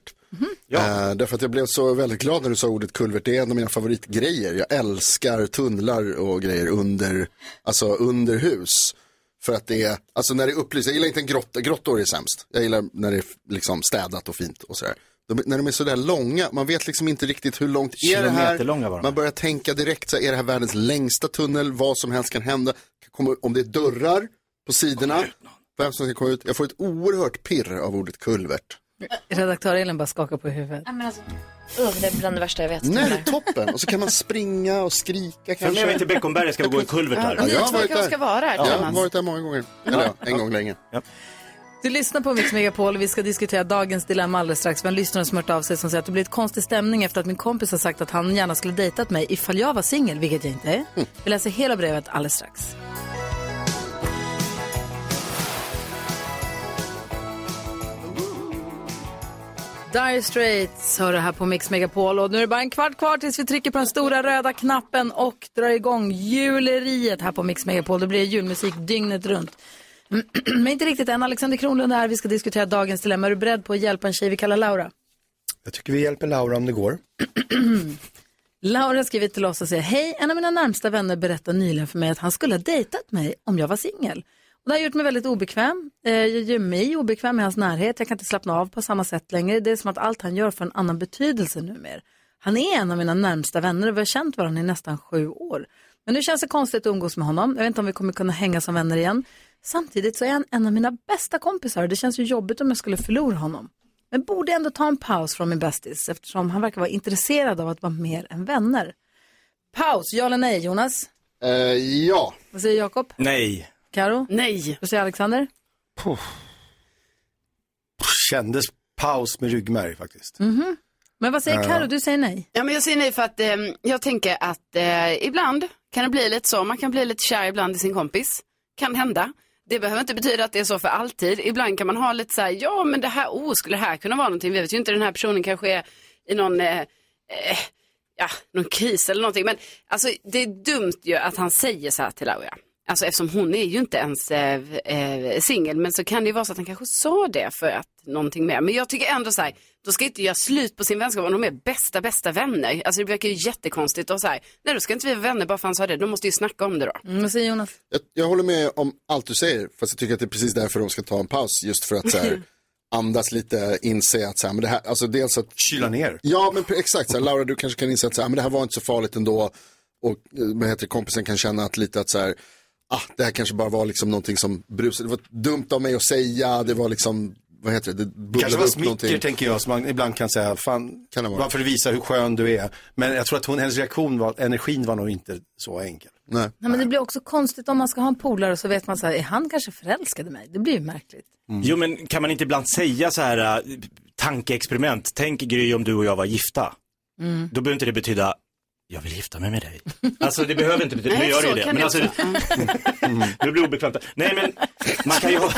D: Eh, därför att jag blev så väldigt glad när du sa ordet kulvert. Det är en av mina favoritgrejer. Jag älskar tunnlar och grejer under, alltså under hus. För att det är, alltså när det är upplyst, jag gillar inte en grotta, grottor är sämst. Jag gillar när det är liksom städat och fint och sådär. De, när de är sådär långa, man vet liksom inte riktigt hur långt är det här.
G: Kilometerlånga var de.
D: Man börjar tänka direkt, så här, är det här världens längsta tunnel? Vad som helst kan hända. Kan komma, om det är dörrar på sidorna, vem som ska komma ut. Jag får ett oerhört pirr av ordet kulvert.
B: Redaktör Elin bara skakar på huvudet.
E: Nej, men alltså, ugh, det är bland det värsta jag vet.
D: Nej, det är toppen. Och så kan man springa och skrika kanske.
G: Funderar inte Beckomberga ska vi gå en kulvert
D: Ja,
G: där?
D: jag har varit där. Ja, Jag har
B: tillsammans.
D: varit där många gånger. Eller ja, en gång länge.
B: Du lyssnar på Mix Megapol och vi ska diskutera dagens dilemma alldeles strax. Vi har en lyssnare som hört av sig som säger att det blivit konstig stämning efter att min kompis har sagt att han gärna skulle dejtat mig ifall jag var singel, vilket jag inte är. Vi läser hela brevet alldeles strax. Dire Straits hör du här på Mix Megapol och nu är det bara en kvart kvar tills vi trycker på den stora röda knappen och drar igång juleriet här på Mix Megapol. Det blir julmusik dygnet runt. Men inte riktigt än. Alexander Kronlund är här. Vi ska diskutera dagens dilemma. Är du beredd på att hjälpa en tjej vi kallar Laura?
N: Jag tycker vi hjälper Laura om det går.
B: Laura har skrivit till oss och säger Hej, en av mina närmsta vänner berättade nyligen för mig att han skulle ha dejtat mig om jag var singel. Och det har gjort mig väldigt obekväm. Eh, Jag gör mig obekväm i hans närhet. Jag kan inte slappna av på samma sätt längre. Det är som att allt han gör får en annan betydelse numera. Han är en av mina närmsta vänner och vi har känt varandra i nästan sju år. Men nu känns det konstigt att umgås med honom. Jag vet inte om vi kommer kunna hänga som vänner igen. Samtidigt så är han en av mina bästa kompisar och det känns ju jobbigt om jag skulle förlora honom. Men borde ändå ta en paus från min bästis eftersom han verkar vara intresserad av att vara mer än vänner. Paus, ja eller nej Jonas?
D: Eh, ja.
B: Vad säger Jakob?
G: Nej.
B: Karo? Nej. Vad säger Alexander?
N: Kändes paus med ryggmärg faktiskt.
B: Mhm. Men vad säger
N: Ja.
B: Karo? Du säger nej.
H: Ja, men jag säger nej för att eh, jag tänker att eh, ibland kan det bli lite så. Man kan bli lite kär ibland i sin kompis. Kan hända. Det behöver inte betyda att det är så för alltid. Ibland kan man ha lite så här, ja men det här, oh, skulle det här kunna vara någonting? Vi vet ju inte, den här personen kanske är i någon, eh, eh, ja, någon kris eller någonting. Men alltså det är dumt ju att han säger så här till Laura. Alltså eftersom hon är ju inte ens eh, eh, singel, men så kan det ju vara så att han kanske sa det för att någonting mer. Men jag tycker ändå så här, då ska inte göra slut på sin vänskap om de är bästa, bästa vänner. Alltså det verkar ju jättekonstigt och så här, nej då ska inte vi vara vänner bara för att han sa det, de måste ju snacka om det då.
B: Mm, vad säger Jonas?
D: Jag, jag håller med om allt du säger, fast jag tycker att det är precis därför de ska ta en paus. Just för att så här, andas lite, inse att så här, men det här, alltså dels att...
N: Kyla ner.
D: Ja, men pre- exakt. Så här, Laura, du kanske kan inse att så här, "Ah, men det här var inte så farligt ändå. Och eh, vad heter det, kompisen kan känna att lite att så här, ah, det här kanske bara var liksom någonting som brusade. Det var dumt av mig att säga, det var liksom, vad heter det, det
N: Kanske
D: bubblade
N: var
D: upp
N: smicker
D: någonting.
N: tänker jag som man ibland kan säga, fan,
D: det vara.
N: varför du visar hur skön du är. Men jag tror att hon, hennes reaktion var, energin var nog inte så enkel.
D: Nej.
B: Nej, men det blir också konstigt om man ska ha en polare och så vet man så här, är han kanske förälskad i mig? Det blir ju märkligt.
G: Mm. Jo men kan man inte ibland säga så här eh, tankeexperiment, tänk Gry om du och jag var gifta.
B: Mm.
G: Då behöver inte det betyda, jag vill gifta mig med dig. Alltså det behöver inte betyda, nu
F: Nej,
G: gör det
F: så
G: ju det.
F: kan
G: Men
F: det
G: alltså,
F: också.
G: nu blir det obekvämt. Nej men, man kan ju ha,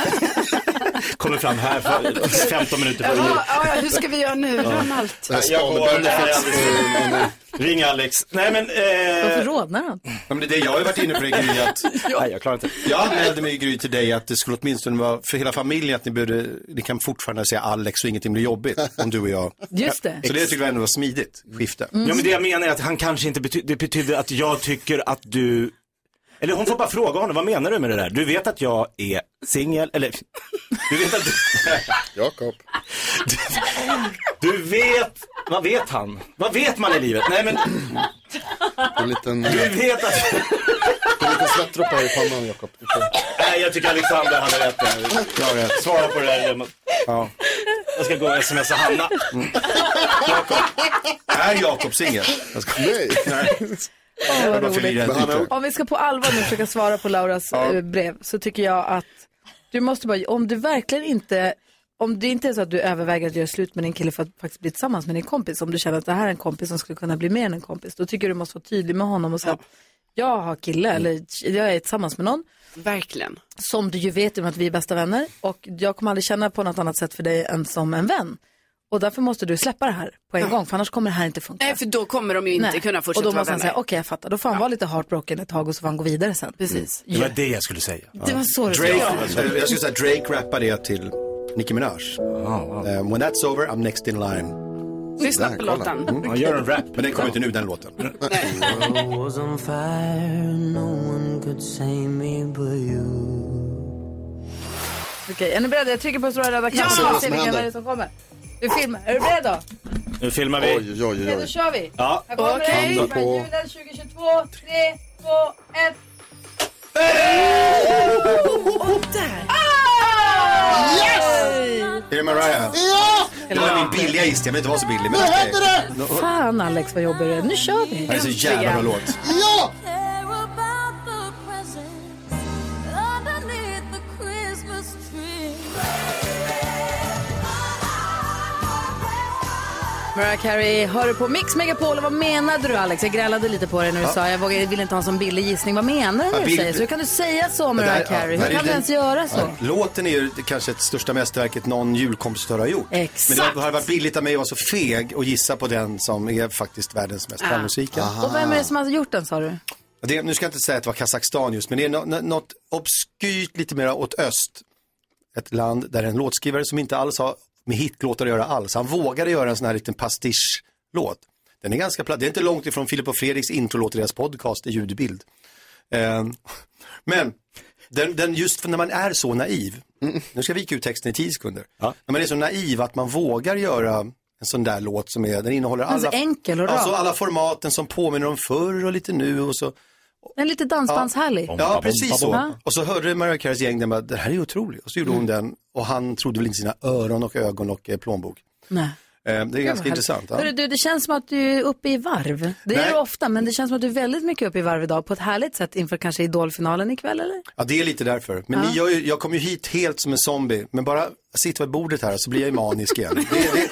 G: kommer fram här för 15 minuter före jul.
H: Ja, ja, hur ska vi göra nu?
G: Ja.
H: Glöm allt.
G: Jag går, det här är alldeles- Ring Alex. Nej men,
B: Varför
G: eh,
B: rodnar han?
N: Ja, men det är det jag har ju varit inne på det Gry, att
G: nej, jag klarar inte.
N: jag anmälde mig Gry till dig att det skulle åtminstone vara för hela familjen att ni, började, ni kan fortfarande säga Alex och ingenting blir jobbigt om du och jag.
B: Just det. Mm.
N: Så det tycker jag ändå var smidigt skifte.
G: Ja men det jag menar är att han kanske inte bety- det betyder att jag tycker att du, eller hon får bara fråga honom, vad menar du med det där? Du vet att jag är singel, eller du vet att du...
D: Jakob.
F: Mm.
G: Du, du vet, vad vet han? Vad vet man i livet? Nej men,
D: En liten,
G: du vet att...
D: en liten svettdroppe här i pannan, Jakob. Du får-
G: Nej jag tycker Alexander hade rätt.
N: Jag har rätt.
G: Svara på det där dilemmat.
N: Ja.
G: Jag ska gå och smsa Hanna.
D: Mm.
N: Är Jakob singel? Jag ska- Nej. Jag bara fyller i det här lite.
B: Om vi ska på allvar nu försöka svara på Lauras
N: Ja.
B: eh, brev så tycker jag att du måste bara, om du verkligen inte, om det inte är så att du överväger att göra slut med din kille för att faktiskt bli tillsammans med din kompis, om du känner att det här är en kompis som skulle kunna bli mer än en kompis, då tycker jag du måste vara tydlig med honom och säga att jag har kille, eller jag är tillsammans med någon.
H: Verkligen.
B: Som du ju vet i och med att vi är bästa vänner. Och jag kommer aldrig känna på något annat sätt för dig än som en vän. Och därför måste du släppa det här på en gång, för annars kommer det här inte funka.
H: Nej, för då kommer de ju inte kunna fortsätta
B: Och då
H: vara
B: måste han
H: vänner.
B: säga, okej jag fattar, då får han vara lite heartbroken ett tag och så får han gå vidare sen. Mm. Precis.
G: Det var det jag skulle säga.
B: Det var så det
N: Drake,
B: skulle vara.
N: Jag skulle säga Drake rappade det till Nicki Minaj.
G: Ah,
N: Ehm, when that's over, I'm next in line.
H: Lyssna
N: Där,
H: på
N: kolla.
H: låten.
N: Mm. Han gör en rap. Men den kommer inte nu, den låten.
F: I was on fire, no one could save me but you.
B: Okej, är ni beredda? Jag trycker på stora röda knappen
G: Ja!
B: och ser vilken vad det är som kommer. Vi filmar, är du beredd då?
G: Nu filmar vi. Oj,
B: Okej, då kör vi.
G: Ja.
B: Här kommer
G: Okej.
B: det. På... Julen 2022, 3, 2, 1.
F: Och där! Yes!
N: Är det Mariah?
F: Ja!
N: Det var min billiga gissning, jag vet inte vad så billig. Men
F: Vad
N: okej.
F: hände
N: Nå-
B: Fan Alex vad jobbar du Nu kör vi.
N: Det är så jävla bra låt.
F: Ja!
B: Mariah Carey, hör du på Mix Megapol och vad menade du Alex? Jag grälade lite på dig när du
N: Ja.
B: sa jag vågar- jag vill inte ha en sån billig gissning. Vad menar du
N: Ja,
B: när du
N: bild-
B: säger så? Hur kan du säga så
N: Det där-
B: Mariah
N: ja,
B: Carey?
N: det
B: Hur
N: här är
B: kan du
N: den-
B: ens göra så?
N: Ja, Låten är ju kanske det största mästerverket någon julkompositör har gjort.
B: Exakt.
N: Men det hade varit billigt av mig att vara så feg och gissa på den som är faktiskt världens mest
B: Ah.
N: framgångsrika.
B: Och vem är det som har gjort den sa du?
N: Det, nu ska jag inte säga att det var Kazakstan just, men det är nå- nå- något obskyrt lite mer åt öst. Ett land där en låtskrivare som inte alls har med hitlåtar att göra alls, han vågade göra en sån här liten pastisch-låt. Den är ganska platt, det är inte långt ifrån Filip och Fredriks introlåt i deras podcast i ljudbild. Eh, men den, den just för när man är så naiv, nu ska jag vika ut texten i tio sekunder, när man är så naiv att man vågar göra en sån där låt som är, den innehåller
B: Den är så
N: alla,
B: enkel och rak.
N: alltså alla formaten som påminner om förr och lite nu och så.
B: Den är lite dansbandshärlig.
N: Ja, precis så.
B: Ja.
N: Och så hörde Mariah Careys gäng den bara, det här är ju otroligt. Och så gjorde hon
B: Mm.
N: den och han trodde väl inte sina öron och ögon och eh, plånbok.
B: Nej.
N: Eh, Det är ganska
B: härligt.
N: intressant. Ja.
B: Hörru, du, det känns som att du är uppe i varv. Det är
N: Nej.
B: du ofta, men det känns som att du är väldigt mycket uppe i varv idag på ett härligt sätt inför kanske Idolfinalen ikväll eller?
N: Ja, det är lite därför. Men ni gör ju, jag kommer ju hit helt som en zombie, men bara sitta vid bordet här så blir jag ju manisk igen. Det,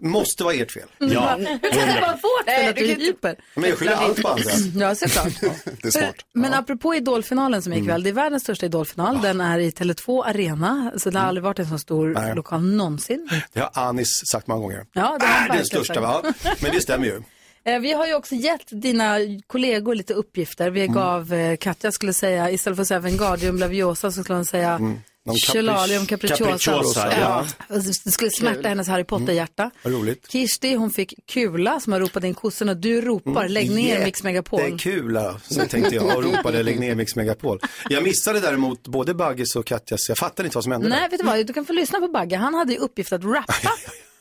N: det måste vara ert fel.
B: det är bara vårt fel att du är hyper.
N: Men jag skyller allt på andra.
B: Ja, såklart.
N: Det är smart. Mm.
B: Men apropå idolfinalen som är ikväll, det är världens
N: Ah.
B: största idolfinal. Den är i Tele2 Arena, så det har aldrig varit en så stor
N: Nej.
B: lokal någonsin.
N: Det har Anis sagt många gånger.
B: Ja, det har han
N: är den
B: verkligen
N: största va?
B: sagt.
N: Men det stämmer ju.
B: Eh, Vi har ju också gett dina kollegor lite uppgifter.
N: Mm.
B: Vi gav eh, Katja skulle säga, istället för att säga Vengardium Laviosa så skulle hon säga
N: Mm. Någon capri-
B: Chelalium Capricciosa.
N: Capricciosa, ja. Mm.
B: Och Det skulle smärta hennes Harry Potter-hjärta.
N: Vad roligt.
B: Kirsti, hon fick Kula som har ropat in kossorna. Du ropar, lägg ner Mix Megapol.
N: Mm. Det är kul, så tänkte jag och ropade lägg ner Mix Megapol. Jag missade däremot både Bagges och Katjas, jag fattade inte vad som hände.
B: Nej, vet du vad? Du kan få lyssna på Bagge. Han hade ju uppgift att rappa.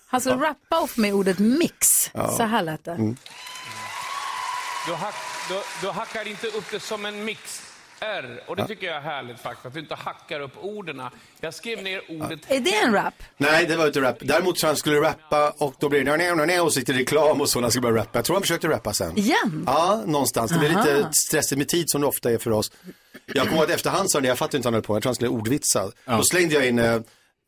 B: Han skulle rappa och få med ordet mix.
O: Ja.
B: Så här lät det.
N: Mm.
O: Du, hack, du, du hackar inte upp det som en mix. R, och det tycker jag är härligt faktiskt, att du inte hackar upp orden. Jag skrev ner ordet...
B: Är det en rap?
N: Nej, det var inte rap. Däremot så han skulle rappa och då blev det nej, nej, nej, och så gick det reklam och så när han skulle börja rappa. Jag tror han försökte rappa sen.
B: Igen?
N: Ja, någonstans. Det blev
B: Aha.
N: lite stressigt med tid som det ofta är för oss. Jag kommer ihåg att efterhand sa han det, jag fattar inte vad han höll på med. jag tror han skulle ordvitsa. Då slängde jag in eh,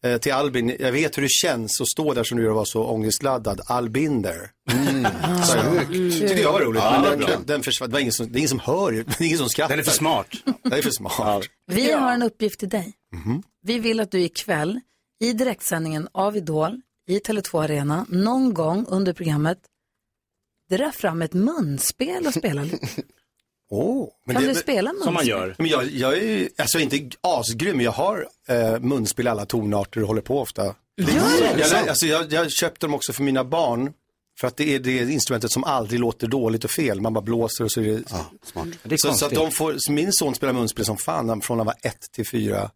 N: eh, till Albin, jag vet hur det känns att stå där som du gör och vara så ångestladdad, Albinder. Mm. Så jag tyckte jag var roligt,
G: Ja, det var
N: men
G: bra.
N: den, den försvann. Det, var ingen som, det är ingen som hör, det är ingen som skrattar. Den är för
G: smart.
N: Den är för smart.
B: Vi har en uppgift till dig.
N: Mhm.
B: Vi vill att du ikväll i direktsändningen av Idol i Tele2 Arena någon gång under programmet drar fram ett munspel och spelar lite.
N: Åh,
B: Kan du spela munspel? Som man gör.
N: Men jag, jag är ju, alltså inte asgrym, men jag har eh, munspel i alla tonarter och håller på ofta. Jag, lär- alltså, jag, jag köpte dem också för mina barn, för att det är det instrumentet som aldrig låter dåligt och fel. Man bara blåser och så är det... smart.
B: Mm.
G: Det är
N: så, så att
G: konstigt.
N: de får, så min son spelar munspel som fan, han- från han var ett till fyra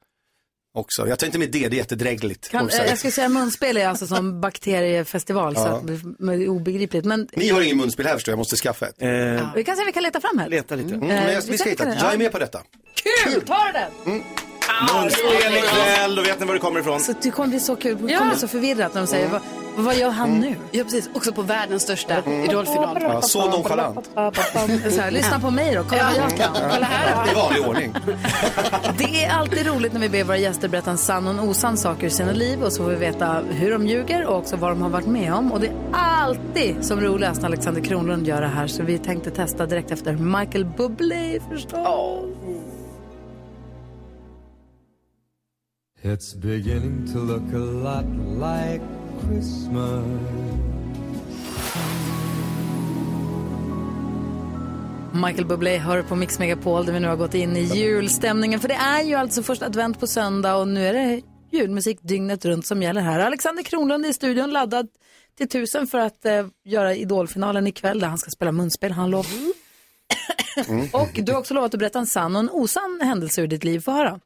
N: också. Jag tar inte med det, det är jättedrägligt.
B: Kan, eh, jag skulle säga munspel är alltså som bakteriefestival, så
N: Ja.
B: att, men det är obegripligt. Men
N: Ni har ingen munspel här förstår jag, jag måste skaffa ett.
B: vi kan se om vi kan leta fram här.
G: Eh, Leta lite.
B: Eh,
N: Mm, men jag, vi ska hitta, ett. jag är med på detta.
B: Kul! Ta den!
G: Munspel ikväll, då vet ni var det kommer ifrån.
B: Så det kommer bli så kul, det kommer bli så förvirrat när de säger vad, Vad gör han nu?
H: Ja, precis. Också på världens största idolfinal.
N: Mm. Ja, så nonchalant.
B: Så här, lyssna på mig då, kolla vad jag kan. Kolla här.
N: I vanlig ordning.
B: Det är alltid roligt när vi ber våra gäster berätta en sann och en osann sak ur sina liv och så får vi veta hur de ljuger och också vad de har varit med om. Och det är alltid som roligast när Alexander Kronlund gör det här så vi tänkte testa direkt efter Michael Bublé förstås.
P: It's beginning to look a lot like Christmas.
B: Michael Bublé hör på Mix Megapol där vi nu har gått in i julstämningen. För det är ju alltså första advent på söndag och nu är det julmusik dygnet runt som gäller här. Alexander Kronlund är i studion laddad till tusen för att eh, göra idolfinalen ikväll där han ska spela munspel, han lov.
N: Mm.
B: och du har också lovat att berätta en sann och en osann händelse ur ditt liv. Få höra.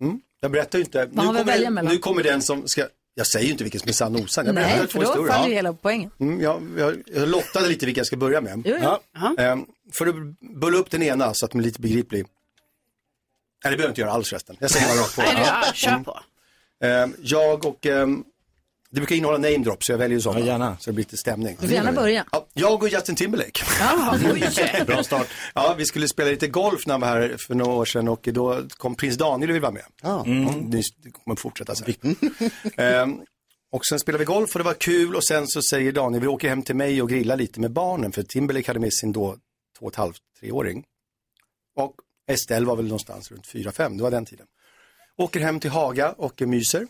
N: Mm. Jag berättar ju inte.
B: har vi att välja
N: kommer,
B: mellan?
N: nu kommer den som ska, jag säger ju inte vilken som är sann och osann. Jag berättar
B: Nej, för
N: två
B: då
N: historier.
B: faller
N: Ja.
B: ju hela poängen.
N: Mm, jag, jag, jag lottade lite vilka jag ska börja med.
B: Jo, jo.
N: Ehm, för att bulla upp den ena så att den är lite begriplig. Nej, det behöver jag inte göra alls resten. Jag säger bara rakt på.
H: Nej, du,
N: Ja. Mm.
H: ja, kör på.
N: Ehm, jag och, ehm, det brukar innehålla name drops så jag väljer ju sådana. Så det blir lite stämning. Mm.
B: Du får gärna börja.
N: Ja, jag och Justin Timberlake. Bra start. Ja, vi skulle spela lite golf när han var här för några år sedan och då kom prins Daniel och ville vara med. Ja. Mm. Det kommer fortsätta så här. Ehm, och sen spelade vi golf och det var kul och sen så säger Daniel, vi åker hem till mig och grillar lite med barnen för Timberlake hade med sin då två och ett halvt, treåring. Och Estelle var väl någonstans runt fyra, fem, det var den tiden. Åker hem till Haga och eh, myser.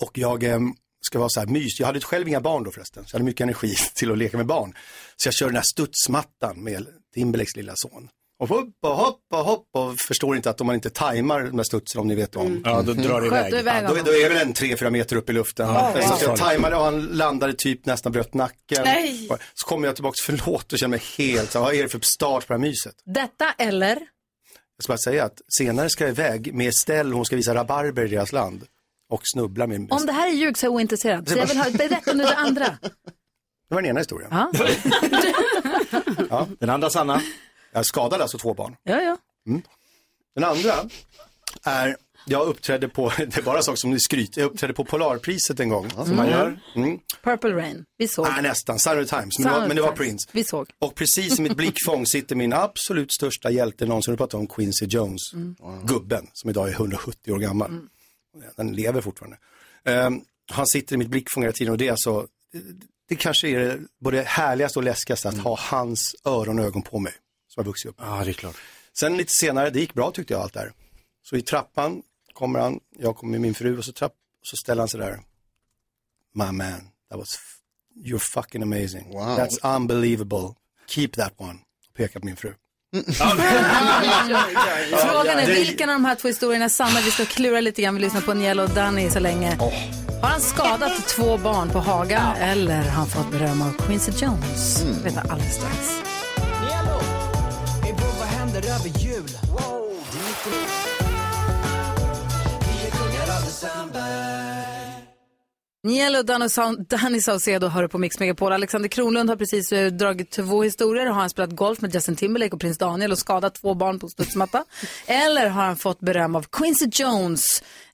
N: Och jag eh, ska vara så här mys. Jag hade själv inga barn då förresten. Så jag hade mycket energi till att leka med barn. Så jag kör den här studsmattan med Timberlakes lilla son. Och hopp och hopp och hopp och förstår inte att om man inte tajmar den här studsen om ni vet om.
G: Mm. Ja, då drar det Sköt iväg. du iväg
N: Ja, då, då är väl en 3-4 meter upp i luften.
G: Ja,
N: så
G: ja.
N: jag tajmade och han landade typ nästan bröt nacken.
B: Nej.
N: Så kommer jag tillbaka, förlåt, och känner mig helt så här, vad är det för start på det här myset?
B: Detta eller?
N: Jag ska bara säga att senare ska jag iväg med Estelle, hon ska visa rabarber i deras land. Och snubbla med
B: Om det här är ljug så är jag ointresserad. Så jag vill ha, berätta nu det andra.
N: Det var den ena historien.
B: Ja.
N: Den andra sanna? Jag skadade alltså två barn.
B: Ja, ja.
N: Den andra är, jag uppträdde på, det är bara saker som ni skryter, jag uppträdde på Polarpriset en gång. Som man
B: Mm.
N: gör. Mm.
B: Purple Rain. Vi såg.
N: Nej, nästan, Sunday Times, men, det var, men det var Prince.
B: Vi såg.
N: Och precis i mitt blickfång sitter min absolut största hjälte någonsin, du pratar om Quincy Jones, gubben som idag är 170 år gammal. Den lever fortfarande. Ehm, han sitter i mitt blickfång hela tiden och det är alltså, det kanske är det både härligaste och läskigaste att ha hans öron och ögon på mig. Som har vuxit upp. Mm. Ja, det är klart. Sen lite senare, det gick bra tyckte jag allt där. Så i trappan kommer han, jag kommer med min fru och så, trapp, så ställer han sig där. My man, that was, f- you're fucking amazing.
D: Wow.
N: That's unbelievable. Keep that one. Pekar på min fru.
B: Frågan är
N: Det-
B: vilken av de här två historierna är sanna. Vi ska klura lite grann. Vi lyssnar på Niel och Danny så länge. Har han skadat två barn på Haga eller har han fått beröm av Quincy Jones? Mm. Veta alldeles strax.
F: Hej bror, vad händer över jul? Wow, det är mitt i livet. Vi är kungar av december.
B: Niel och Danny Sa- Danny Saucedo hör på Mix Megapol. Alexander Kronlund har precis eh, dragit två historier. Har han spelat golf med Justin Timberlake och prins Daniel och skadat två barn på studsmatta? eller har han fått beröm av Quincy Jones?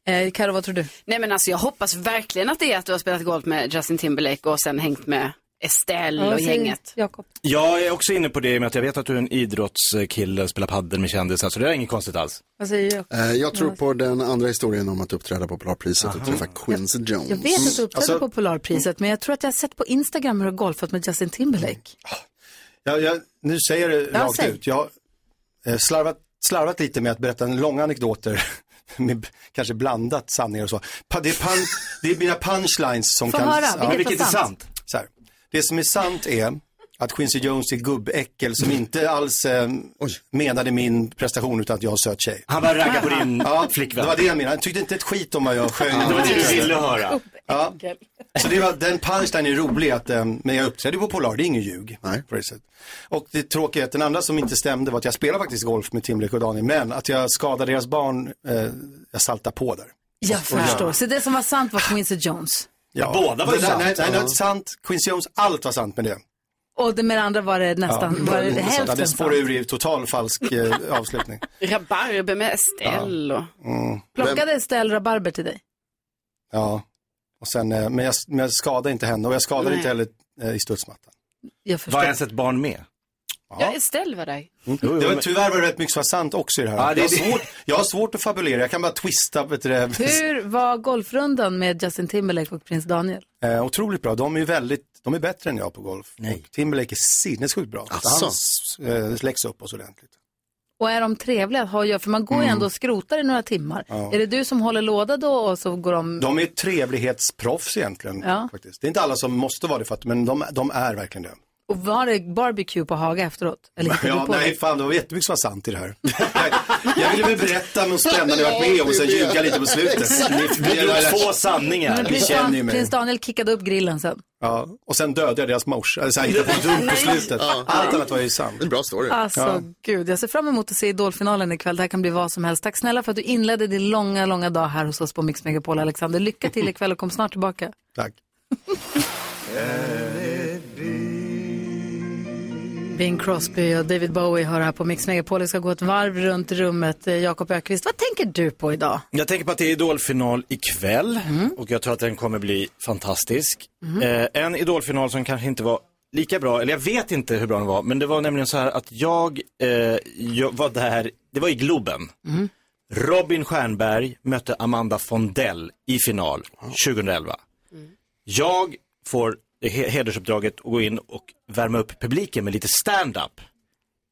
B: Eh, Karo, vad tror du?
H: Nej men alltså jag hoppas verkligen att det är att du har spelat golf med Justin Timberlake och sen hängt med Estelle
B: Ja,
H: och
B: vad säger
H: gänget.
B: Jakob.
G: Jag är också inne på det i och med att jag vet att du är en idrottskille och spelar padel med kändisar, så det är inget konstigt alls.
B: Vad säger jag?
G: Eh,
D: Jag tror på den andra historien om att uppträda på Polarpriset och träffa Quincy Jones.
B: Jag vet
N: Mm.
B: att du uppträdde
N: Alltså-
B: på Polarpriset, men jag tror att jag har sett på Instagram hur du har golfat med Justin Timberlake.
N: Jag, jag, nu säger jag det
B: Ja,
N: rakt
B: säg.
N: ut. Jag har eh, slarvat, slarvat lite med att berätta en lång anekdoter med b- kanske blandat sanningar och så. Pa, det, är pan, det är mina punchlines som
G: Få
N: kan...
G: höra, vilket var Vilket är sant?
N: Så här. Det som är sant är att Quincy Jones är gubbäckel som inte alls eh, menade min prestation utan att jag har söt tjej.
G: Han bara raggar på din
N: ja,
G: flickvän.
N: Det var det jag menade. Han tyckte inte ett skit om vad jag sjöng.
G: Det var det du ville höra.
N: Ja. Så det var, den punchline är rolig, att, eh, men jag uppträdde på Polar, det är ingen ljug. På det sättet. Och det tråkiga är att den andra som inte stämde var att jag spelade faktiskt golf med Timberlake och Daniel, men att jag skadade deras barn, eh, jag saltade på där.
B: Jag förstår. Så det som var sant var Quincy Jones.
N: Ja,
G: båda var ju
N: det-
G: sant.
N: Nej, nej, nej,
G: Ja.
N: sant. Quincy Jones, allt var sant med det.
B: Och det med det andra var det nästan, var det
N: ja,
B: hälften
N: det
B: sant.
N: spårade ur i total falsk eh, avslutning.
H: Rabarber med Estelle och...
N: Mm.
B: Plockade Estelle rabarber till dig?
N: Ja. Och sen, eh, men, jag, men jag skadade inte henne och jag skadade
H: Nej.
N: inte heller eh, i studsmattan.
H: Jag förstår. Var ens
N: ett barn med?
H: Ja, Estelle var där.
N: Mm. Det var, tyvärr var det rätt mycket som var sant också i det här.
G: Ja, det-
N: jag, har svårt, jag har svårt att fabulera, jag kan bara twista. Vet du, det.
B: Hur var golfrundan med Justin Timberlake och prins Daniel?
N: Eh, otroligt bra, de är ju väldigt, de är bättre än jag på golf. Nej. Timberlake är sinnessjukt bra.
B: Asså.
N: Han eh, släcks upp oss ordentligt.
B: Och är de trevliga att ha att göra? För man går ju ändå och skrotar i några timmar.
N: Mm. Ja.
B: Är det du som håller låda då och så går de...
N: De är trevlighetsproffs egentligen.
B: Ja.
N: Faktiskt. Det är inte alla som måste vara det, för att, men de, de är verkligen det.
B: Och var det barbecue på Haga efteråt? Eller hittade
N: Ja,
B: du på
N: nej,
B: det?
N: fan, det var jättemycket som var sant i det här. jag ville väl berätta något spännande jag varit med om och sen ljuga lite på slutet.
G: Exakt. Två sanningar.
B: Men
N: Ni
B: prins,
N: känner ju
B: Dan-
N: mig.
B: prins Daniel kickade upp grillen sen.
N: Ja, och sen dödade jag deras morsa. Eller så här, hittade på en dum på slutet. Allt annat var ju sant. Det är en bra story.
B: Alltså gud, jag ser fram emot att se Idolfinalen ikväll. Det här kan bli vad som helst. Tack snälla för att du inledde din långa, långa dag här hos oss på Mix Megapol, Alexander. Lycka till ikväll och kom snart tillbaka.
N: Tack.
B: Bing Crosby och David Bowie hör här på Mix Megapol. Vi ska gå ett varv runt rummet. Eh, Jakob Ökvist, vad tänker du på idag?
G: Jag tänker på att det är idolfinal ikväll
H: Mm.
G: och jag tror att den kommer bli fantastisk. Eh, en idolfinal som kanske inte var lika bra, eller jag vet inte hur bra den var, men det var nämligen så här att jag, eh, jag var där, det var i Globen.
B: Mm.
G: Robin Stjernberg mötte Amanda Fondell i final 2011. Jag får he- hedersuppdraget att gå in och värma upp publiken med lite stand-up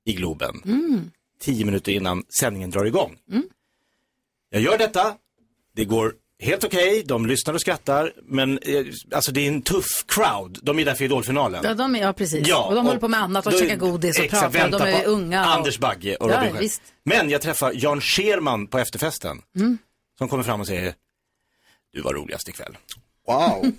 G: i Globen.
B: Mm.
G: Tio minuter innan sändningen drar igång. Jag gör detta, det går helt okej, de lyssnar och skrattar, men eh, alltså det är en tuff crowd, de är där för idolfinalen.
B: Ja, de är, ja precis. och de håller på med annat, de
G: då-
B: käkar godis och
G: exakt,
B: pratar, de
G: väntar
B: är
G: på
B: unga. och-
G: Anders Bagge och
B: Ja,
G: Robin Stjernberg.
B: visst.
G: Men jag träffar Jan Scherman på efterfesten,
B: Mm.
G: som kommer fram och säger, du var roligast ikväll. Wow.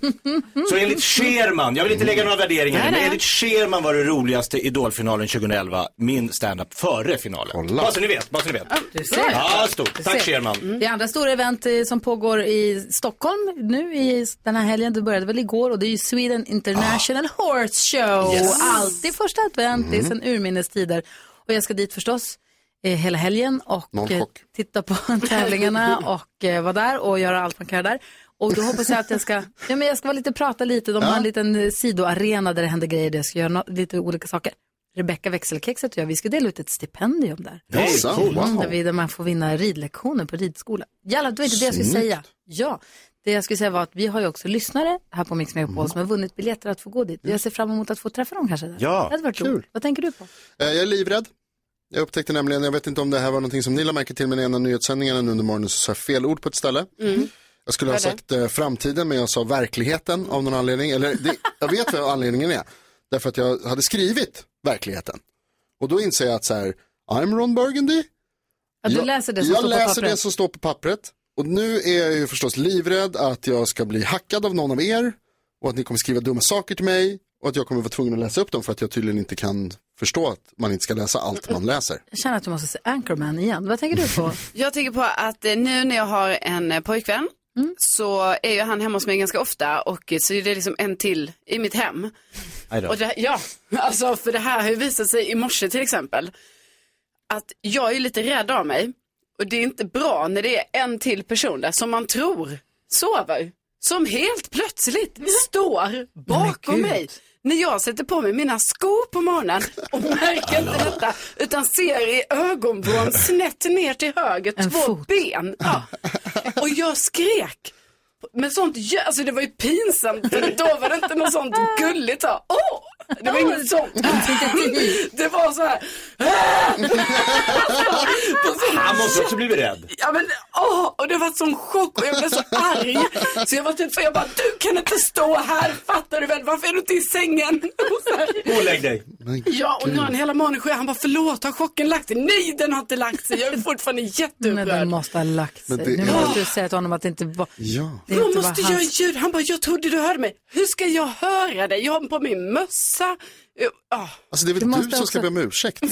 G: Så enligt Scherman, jag vill inte lägga några värderingar
F: Nej,
G: nu, men
F: nej.
G: enligt Scherman var det roligaste idolfinalen 2011, min standup före finalen. Bara så ni vet, bara så ni vet.
B: Du Mm. ser.
G: Ja, stort. Tack
B: Se.
G: Scherman.
B: Det är andra stora event eh, som pågår i Stockholm nu i s- den här helgen. Det började väl igår och det är ju Sweden International Horse Show.
F: Ah. Yes. Mm.
B: Alltid första advent, det är sedan urminnes tider. Och jag ska dit förstås eh, hela helgen och
F: Noll
B: eh,
F: chock.
B: titta på tävlingarna och eh, vara där och göra allt man kan där. Och då hoppas jag att jag ska, ja, men jag ska vara lite, prata lite, de har en liten eh, sidoarena där det händer grejer, där jag ska göra no- lite olika saker. Rebecka växelkexet och jag, vi ska dela ut ett stipendium där.
F: Det är sant.
B: Mm,
F: Wow.
B: Där, vi, där man får vinna ridlektioner på ridskola. Jalla, det var inte det jag skulle
F: Snyggt.
B: säga. Ja, det jag skulle säga var att vi har ju också lyssnare här på Mix
D: Mm.
B: Megapol som har vunnit biljetter att få gå dit. Jag ser fram emot att få träffa dem kanske där.
D: Ja,
B: det hade varit
D: kul.
B: roligt. Vad tänker du på?
D: Eh, Jag är livrädd. Jag upptäckte nämligen, jag vet inte om det här var någonting som ni lade märke till, men i en av nyhetssändningarna nu under morgonen så sa jag fel ord på ett ställe.
B: Mm.
D: Jag skulle ha
F: Hörde.
D: sagt eh, framtiden, men jag sa verkligheten av någon anledning. Eller det, jag vet vad anledningen är. Därför att jag hade skrivit verkligheten. Och då inser jag att så här, I'm Ron Burgundy.
B: Ja, du
D: jag
B: läser det som
D: jag
B: står på
D: läser
B: pappret.
D: det som står på pappret. Och nu är jag ju förstås livrädd att jag ska bli hackad av någon av er. Och att ni kommer skriva dumma saker till mig. Och att jag kommer vara tvungen att läsa upp dem för att jag tydligen inte kan förstå att man inte ska läsa allt man läser.
B: Jag känner att du måste se Anchorman igen. Vad tänker du på?
H: Jag tänker på att eh, nu när jag har en eh, pojkvän så är ju han hemma hos mig ganska ofta och eh, så är det liksom en till i mitt hem. Och det, ja, alltså för det här har ju visat sig i morse till exempel. Att jag är lite rädd av mig. Och det är inte bra när det är en till person där som man tror sover. Som helt plötsligt står bakom
F: gud.
H: mig. När jag sätter på mig mina skor på morgonen och märker inte detta utan ser i ögonvrån snett ner till höger två ben. Ja. Och jag skrek. Men sånt, ljud- alltså det var ju pinsamt för då var det inte något sånt gulligt så här, åh! Det var inget sånt. Det var så här.
G: Han måste också bli rädd.
H: Ja men åh, och det var en sån chock och jag blev så arg. Så jag var typ så jag bara, du kan inte stå här, fattar du väl? Varför är du inte i sängen? Och så här,
G: Ålägg dig.
H: Ja, och nu har han hela manen sjuk. Han bara, förlåt, har chocken lagt sig? Nej, den har inte lagt sig. Jag är fortfarande
B: Men den
H: jätteupprörd.
B: måste ha lagt sig.
H: Men det-
B: Nu måste du säga till honom att det inte var...
D: Ja.
B: Det är inte
H: Jag
B: bara
H: måste
B: hans-
H: göra ljud. Han bara, jag trodde du hörde mig. Hur ska jag höra dig? Jag har på min mössa. Jag- ah.
D: Alltså det är väl du, som ska be om ursäkt.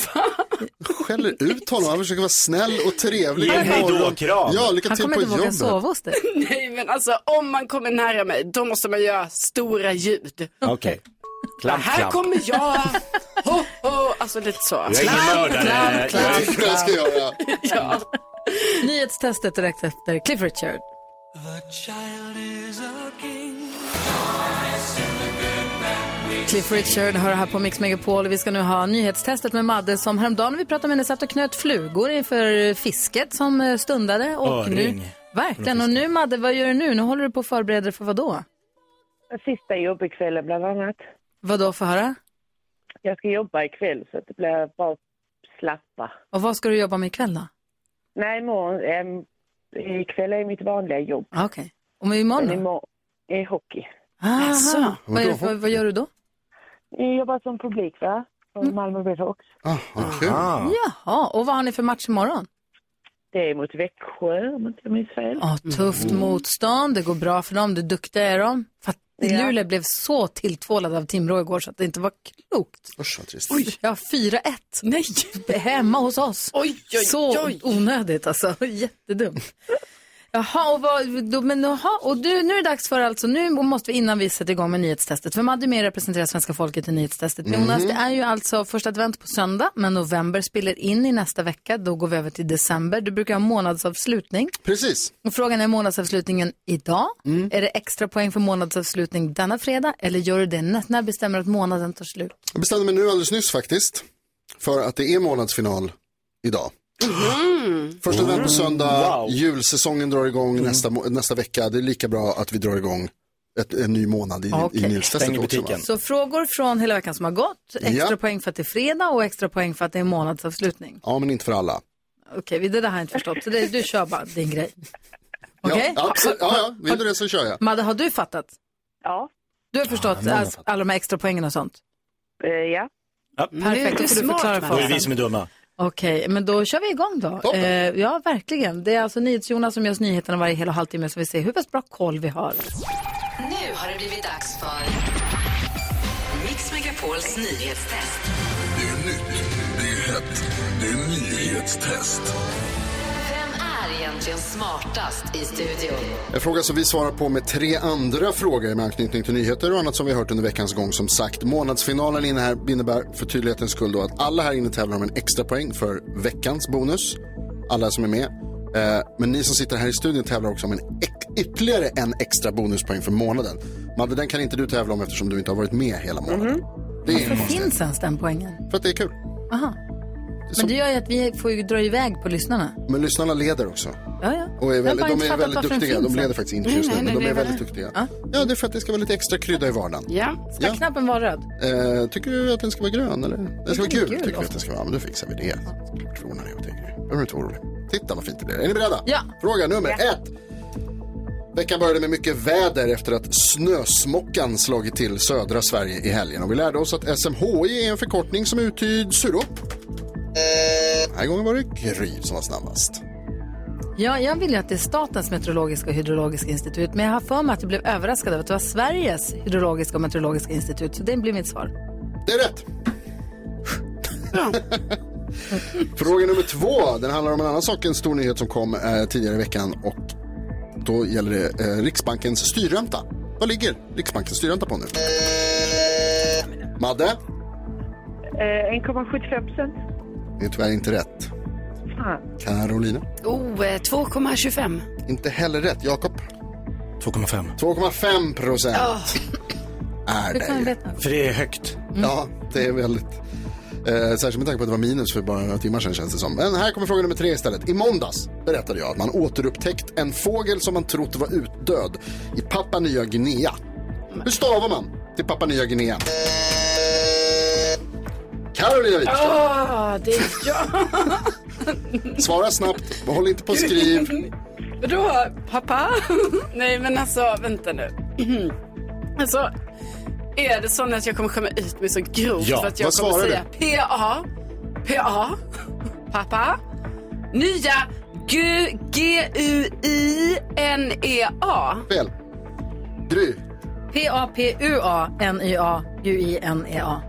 D: Skäller ut honom, han försöker vara snäll och trevlig.
H: Ge en
D: God morgon.
H: hejdå-kram.
D: Ja, lycka
H: Han
D: till
H: kommer
D: på
H: inte våga
D: jobbet.
H: sova
B: hos dig.
H: Nej, men alltså om man kommer nära mig, då måste man göra stora ljud.
G: Okej. Klamp,
H: här
G: klamp.
H: kommer jag. Ho, ho. Alltså lite så.
G: Jag är ingen mördare. Jag är-
D: Det ska jag göra.
B: Nyhetstestet direkt efter Cliff Richard.
F: The child is a king.
B: Cliff Richard hör här på Mix Megapol. Vi ska nu ha nyhetstestet med Madde som häromdagen när vi pratade med henne satt och knöt flugor inför fisket som eh, stundade. Och nu,
Q: Öring.
B: verkligen. Och nu Madde, vad gör du nu? Nu håller du på att förbereda dig för vad då?
Q: Sista jobbikvällen bland annat.
B: Vad då för höra?
Q: Jag ska jobba ikväll så att det blir bara slappa.
B: Och vad ska du jobba med ikväll då?
Q: Nej, imorgon, äm, ikväll är mitt vanliga jobb.
B: Ah, Okej. Och men imorgon då?
Q: Men imorgon är hockey.
B: Ah,
Q: Jaså.
B: vad, gör, vad, vad gör du då? Mm.
Q: Jag jobbar som publikvärd på Malmö Redhawks.
B: Ah. Jaha, och vad har ni för match imorgon?
Q: Det är mot Växjö om inte jag minns fel.
B: Ja, tufft
D: Mm.
B: motstånd, det går bra för dem, det duktiga är de. Fatt, Luleå blev så tilltvålad av Timrå igår så att det inte var klokt.
D: Usch vad trist.
B: Oj, ja, 4-1. Nej! Hemma hos oss. Oj,
H: oj,
B: så
H: oj.
B: onödigt alltså, jättedumt. Jaha, och, vad, då, men, jaha, och du, nu är det dags för alltså, nu måste vi innan vi sätter igång med nyhetstestet, för Madde är med och representerar svenska folket i nyhetstestet.
H: Mhm.
B: Jonas, det är ju alltså första advent på söndag, men november spiller in i nästa vecka, då går vi över till december. Du brukar ha månadsavslutning.
D: Precis. Mm.
B: Och frågan är månadsavslutningen idag? Är det extra poäng för månadsavslutning denna fredag, eller gör du det nä- när bestämmer du att månaden tar slut?
D: Jag bestämde mig nu alldeles nyss faktiskt för att det är månadsfinal idag. Första advent på söndag, julsäsongen drar igång nästa, må- nästa vecka. Det är lika bra att vi drar igång ett, en ny månad i, i
B: Okej.
D: nyhetstestet också. va?
B: Så frågor från hela veckan som har gått, extra
D: Ja.
B: poäng för att det är fredag och extra poäng för att det är månadsavslutning.
D: Ja, men inte för alla.
B: Okej, det där har jag inte förstått, så det, du kör bara din grej. Okej?
D: Ja, absolut. ja, ja, vill du det så kör jag.
B: Madde, har du fattat?
Q: Ja.
B: Du har förstått
D: men jag har
B: alltså, alla de här extra poängen och sånt?
Q: ja.
B: Perfekt, då får du förklara för
G: Då är
B: oss.
G: det vi som är dumma.
B: Okej, men då kör vi igång då. Eh, ja, verkligen. Det är alltså NyhetsJonas som gör oss nyheterna varje hel och halvtimme så vi ser hur pass bra koll vi har.
A: Nu har det blivit dags för Mix Megapols nyhetstest.
R: Det är nytt, det är hett, det är nyhetstest.
A: Vem är egentligen smartast i studion?
D: En fråga som vi svarar på med tre andra frågor med anknytning till nyheter och annat som vi har hört under veckans gång. Som sagt, månadsfinalen inne här innebär för tydlighetens skull då att alla här inne tävlar om en extra poäng för veckans bonus. Alla som är med. Eh, Men ni som sitter här i studion tävlar också om en ek- ytterligare en extra bonuspoäng för månaden. Madde, den kan inte du tävla om eftersom du inte har varit med hela månaden. Det är
B: Mhm. Varför finns ens den poängen?
D: För att det är kul.
B: Aha. Men det gör ju att vi får ju dra iväg på lyssnarna.
D: Men lyssnarna leder också.
B: Ja, ja.
D: Och är
B: Jag har
D: väldigt,
B: bara inte
D: de är
B: fattat
D: väldigt
B: varför den
D: duktiga.
B: finns
D: De leder
B: än.
D: faktiskt inte just nu, men de är väldigt duktiga.
B: Ja.
D: Ja, det är för att det ska vara lite extra krydda i vardagen.
H: Ja.
B: Ska knappen vara röd?
D: Eh, tycker du att den ska vara grön eller? Den ska vara
B: Den är
D: gul,
B: gul
D: tycker du att
B: ofta.
D: den ska vara. Ja, men då fixar vi det. Såklart Ordnar det åt er. Gry. Behöver du inte vara orolig. Titta vad fint det blir. Är ni beredda?
B: Ja.
D: Fråga nummer ett. Veckan började med mycket väder efter att snösmockan slagit till södra Sverige i helgen. Och vi lärde oss att SMHI är en förkortning som uttyds hur då? Den här gången var det Gry som var snabbast.
B: Ja, jag vill ju att det är Statens meteorologiska och hydrologiska institut, men jag har för mig att jag blev överraskad av att det var Sveriges hydrologiska och meteorologiska institut, så det blir mitt svar.
D: Det är rätt. Fråga nummer två. Den handlar om en annan sak, en stor nyhet som kom eh, tidigare i veckan. Och då gäller det eh, Riksbankens styrränta. Vad ligger Riksbankens styrränta på nu? Madde,
Q: Eh, 1,75 procent.
D: det är tyvärr inte rätt.
Q: Fan.
D: Carolina,
H: Oh, eh, 2,25.
D: inte heller rätt. Jakob?
G: 2,5.
D: 2,5 procent
H: Ja.
D: är
H: Hur kan vi
D: det.
H: veta?
G: För det är högt.
D: Mm. Ja, det är väldigt. Eh, särskilt med tanke på att det var minus för bara några timmar sedan känns det som. Men här kommer fråga nummer tre istället. I måndags berättade jag att man återupptäckt en fågel som man trott var utdöd i Papua Nya Guinea. Hur stavar man till Papua Nya Guinea? Carolina Widerström.
F: Ah, det är jag.
D: Svara snabbt, håll inte på och skriv.
H: Vadå, pappa? Nej, men alltså, vänta nu. alltså, är det så att jag kommer skämma ut mig så grovt
F: Ja,
H: för att jag
F: vad
H: kommer
F: svarar
H: säga PA, PA, pappa, nya G- E, G-U-I-N-E-A.
D: Fel. Gry.
B: P-A-P-U-A-N-Y-A-G-U-I-N-E-A.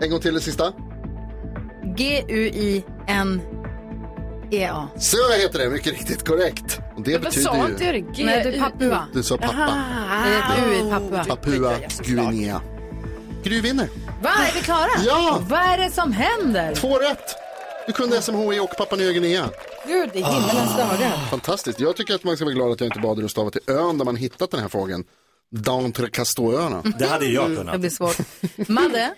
D: En gång till det sista.
B: G-U-I-N-E-A.
D: Så heter det, mycket riktigt korrekt. Och det
B: vad
D: betyder
B: sa
D: ju...
B: inte jag det? G- Nej, du, Papua.
D: Du sa pappa.
B: Aha. Det är ett U i Papua.
D: Papua Guinea. Gry vinner.
B: Va, är vi klara?
D: Ja!
B: Vad är det som händer?
D: Två rätt! Du kunde SMHI och Papua Nya Guinea.
B: Gud, i himmelens dagar.
D: Fantastiskt. Jag tycker att man ska vara glad att jag inte bad er att stava till ön där man hittat den här fågeln. D'entre Castoröarna.
G: Det hade jag
D: Mm.
G: kunnat.
B: Det blir svårt. Madde,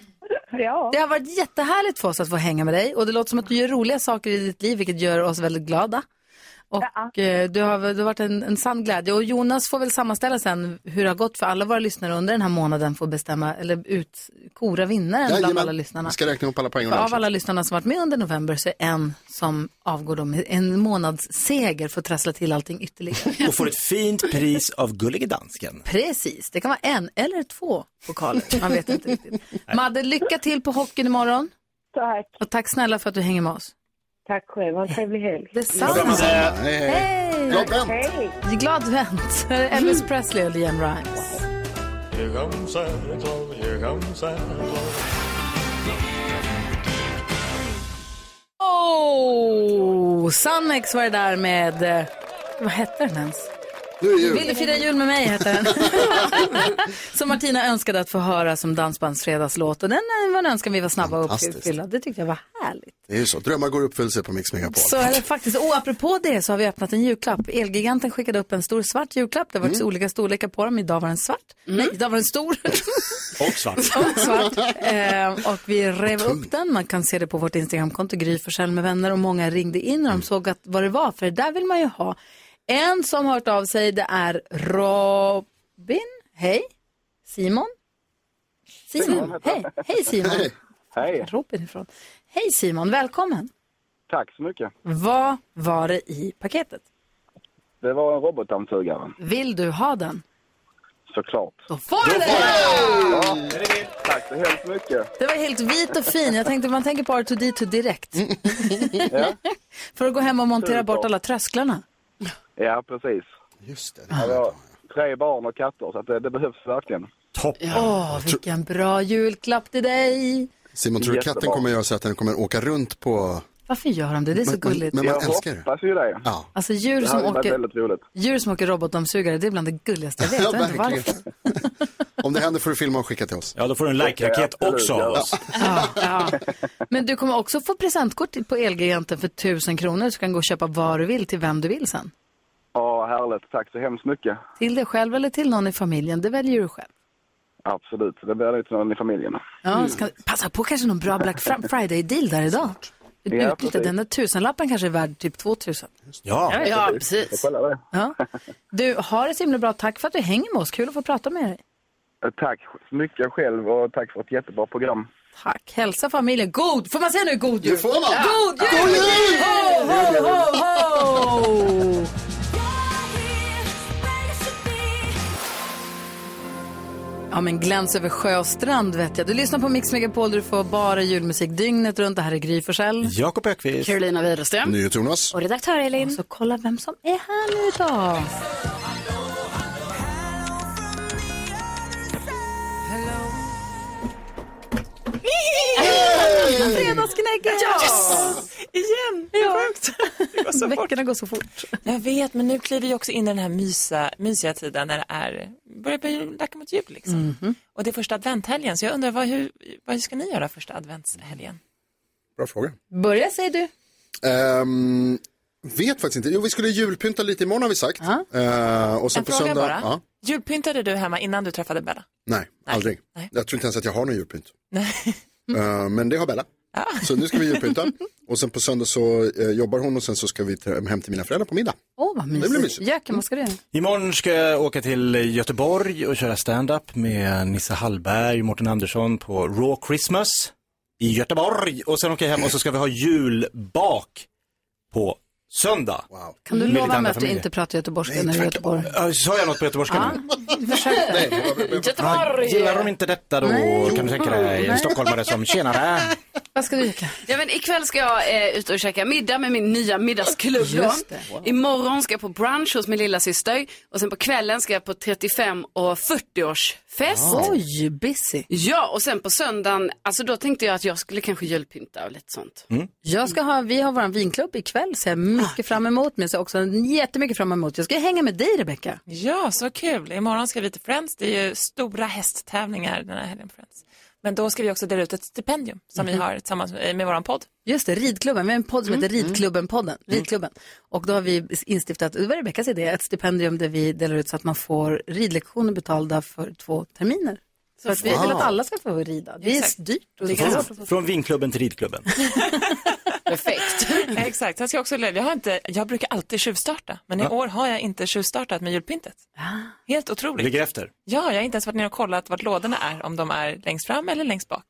B: det har varit jättehärligt för oss att få hänga med dig och det låter som att du gör roliga saker i ditt liv vilket gör oss väldigt glada. Och eh, du, har, väl- du har varit en, en sann glädje och Jonas får väl sammanställa sen hur det har gått för alla våra lyssnare under den här månaden får bestämma eller ut, kora vinnaren bland alla lyssnarna.
D: Vi ska räkna upp alla poäng
B: För av
D: ordentligt.
B: alla lyssnarna som varit med under november så är en som avgår då med en månads seger för att trassla till allting ytterligare.
G: Och får ett fint pris av Gullige Dansken.
B: Precis, det kan vara en eller två pokaler. Man vet inte riktigt. Madde, lycka till på hockeyn imorgon.
Q: Tack.
B: Och tack snälla för att du hänger med oss.
Q: Tack själv, ha en trevlig helg.
B: Detsamma.
D: Hej,
B: Hej! Glad vänt. Elvis Presley och Liam Rimes.
R: Here comes Santa Claus, here comes Santa Claus.
B: Oh, Sannex var det där med... eh, Vad hette den ens?
D: Nu är jul.
B: Vill du fira jul med mig, hette den. som Martina önskade att få höra som dansbandsfredagslåt. Och den eh, var en önskan vi var snabba att
D: Fantastiskt.
B: uppfylla. Det tyckte jag var härligt.
D: Det är ju så, drömmar går i uppfyllelse på Mix Megapol.
B: Så är det faktiskt. Och apropå det så har vi öppnat en julklapp. Elgiganten skickade upp en stor svart julklapp. Det har varit
D: Mm.
B: olika storlekar på dem. Idag var den svart. Nej, idag var den stor.
G: Och svart.
B: Och svart. Eh, och vi rev upp den. Man kan se det på vårt Instagramkonto, Gry Forssell med vänner. Och många ringde in när de såg att, vad det var. För det där vill man ju ha. En som har hört av sig, det är Robin. Hej. Simon. Simon. Hej. Hej Simon.
S: Hej.
B: Robin ifrån. Hej Simon, välkommen.
S: Tack så mycket.
B: Vad var det i paketet?
S: Det var en robotdammsugare,
B: Vill du ha den?
S: såklart.
B: Då får du den!
S: Tack så hemskt mycket.
B: Det var helt vit och fin. Jag tänkte, man tänker på R2D2 direkt.
S: Ja.
B: För att gå hem och montera bort alla trösklarna.
S: Ja, precis. Just det. det jag har tre barn och katter, så att det, det behövs verkligen.
B: Åh, vilken bra julklapp till dig!
D: Simon, tror du katten
S: Jättebra.
D: kommer göra så att den kommer åka runt på...
B: Varför gör de det? Det är så
D: Men-
B: gulligt.
D: Men man älskar det.
S: hoppas ju det.
D: Ja.
B: Alltså djur som åker,
S: roligt.
B: djur som åker robotdammsugare, det är bland det gulligaste jag vet. Jag vet inte varför.
D: Om det händer får du filma och skicka till oss.
G: Ja, då får du en like-raket
D: Okej,
G: också av
D: absolut, ja.
G: oss.
B: Men du kommer också få presentkort till- på Elgiganten för tusen kronor. Så kan du gå och köpa vad du vill till vem du vill sen.
S: Ja, härligt. Tack så hemskt mycket.
B: Till dig själv eller till någon i familjen, det väljer du själv.
S: Absolut. Det blir det till någon i familjen.
B: Ja, ska passa på kanske någon bra Black Fri- Friday-deal där idag.
S: Ja,
B: Utnyttja
S: precis.
B: den där tusenlappen kanske är värd typ 2000.
S: Ja,
B: Ja,
S: precis. Jag kollar det.
B: Ja. Du, har det så himla bra. Tack för att du hänger med oss. Kul att få prata med dig.
S: Tack så mycket själv och tack för ett jättebra program.
B: Tack. Hälsa familjen. God, får man säga nu god jul?
S: Det får man.
B: God jul!
S: God jul!
B: Ho, ho, ho, ho! Ja, men gläns över sjö och strand vet jag. Du lyssnar på Mix Megapol där du får bara julmusik dygnet runt. Det här är Gry Forssell.
G: Jakob Ökvist.
H: Carolina Widerström.
D: Jonas.
B: Och redaktör Elin. så kolla vem som är här nu idag.
F: Hey!
B: Fredagsgnägget!
F: Ja!
T: Igen!
B: Det är sjukt.
T: Veckorna
B: går så fort.
T: Jag vet, men nu kliver vi också in i den här mysa, mysiga tiden när det är, börjar bli lacka mot jul liksom. Och det är första adventhelgen, så jag undrar vad, hur, vad ska ni göra första adventshelgen?
D: Bra fråga.
B: Börja säger du.
D: Ehm, vet faktiskt inte. Jo, vi skulle julpynta lite imorgon har vi sagt. Ehm, och sen
T: en
D: på
T: fråga
D: söndag...
T: bara.
D: Ja.
T: Julpyntade du hemma innan du träffade Bella?
D: Nej, aldrig. Jag tror inte ens att jag har någon julpynt. Eh, men det har Bella. Så nu ska vi julpynta. Och sen på söndag så eh, jobbar hon och sen så ska vi ta- hem till mina föräldrar på middag.
B: Åh, vad
D: Det blir
B: mysigt.
D: mysigt.
B: Jöken, vad ska du göra?
G: Imorgon ska jag åka till Göteborg och köra stand-up med Nisse Hallberg och Mårten Andersson på Raw Christmas i Göteborg. Och sen åker jag hem och så ska vi ha julbak på söndag.
B: Kan du
G: Mm. Med lite
B: lova mig
G: andra
B: att du
G: familjer.
B: inte pratar göteborgska när du är i Göteborg?
G: Ja, Sa jag något på göteborgska nu? Ah,
B: Göteborg!
G: Gillar de inte detta då kan du tänka dig en stockholmare som tjenare.
B: Vad ska du göra?
H: Ja, men ikväll ska jag eh, ut och käka middag med min nya middagsklubb. Då.
B: Just det. Wow.
H: Imorgon ska jag på brunch hos min lilla syster och sen på kvällen ska jag på 35 och 40-årsfest.
B: Oj, busy.
H: Ja, och sen på söndagen, alltså då tänkte jag att jag skulle kanske julpynta och lite sånt.
B: Jag ska ha, vi har vår vinklubb ikväll, ser jag mycket fram emot. Men jag ser också jättemycket fram emot. Jag ska hänga med dig, Rebecka.
T: Ja, så kul. Imorgon ska vi till Friends. Det är ju stora hästtävlingar den här helgen på Friends. Men då ska vi också dela ut ett stipendium som
B: Mhm.
T: vi har tillsammans med, med vår podd.
B: Just det, Ridklubben. Vi har en podd som
T: Mm.
B: heter Ridklubben-podden. Ridklubben. Och då har vi instiftat, det var Rebeckas idé, ett stipendium där vi delar ut så att man får ridlektioner betalda för två terminer. Så att vi
G: Wow.
B: vill att alla ska få rida. Det är dyrt. Och det är svårt.
G: Från, från vinklubben till ridklubben.
T: Perfekt. Exakt. Jag, ska också, jag, har inte, jag brukar alltid tjuvstarta, men i
G: Ja.
T: år har jag inte tjuvstartat med julpyntet.
B: Ah.
T: Helt otroligt.
G: Ligger efter.
T: Ja, jag har inte ens varit nere och kollat vart lådorna är, om de är längst fram eller längst bak.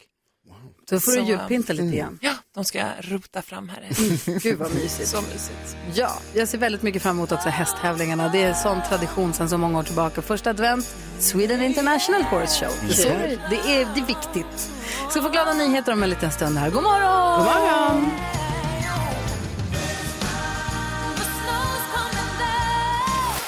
B: Då får du
T: Så,
B: julpynta lite igen. Mm.
T: Ja, de ska jag rota fram här.
B: Gud vad mysigt.
T: Så mysigt.
B: Ja, jag ser väldigt mycket fram emot också hästtävlingarna. Det är en sån tradition sedan så många år tillbaka. Första advent, Sweden International Horse Show. Det,
H: Just
B: så,
H: det.
B: det, är, det är viktigt. Ska få glada nyheter om en liten stund här. God morgon!
H: God
B: morgon!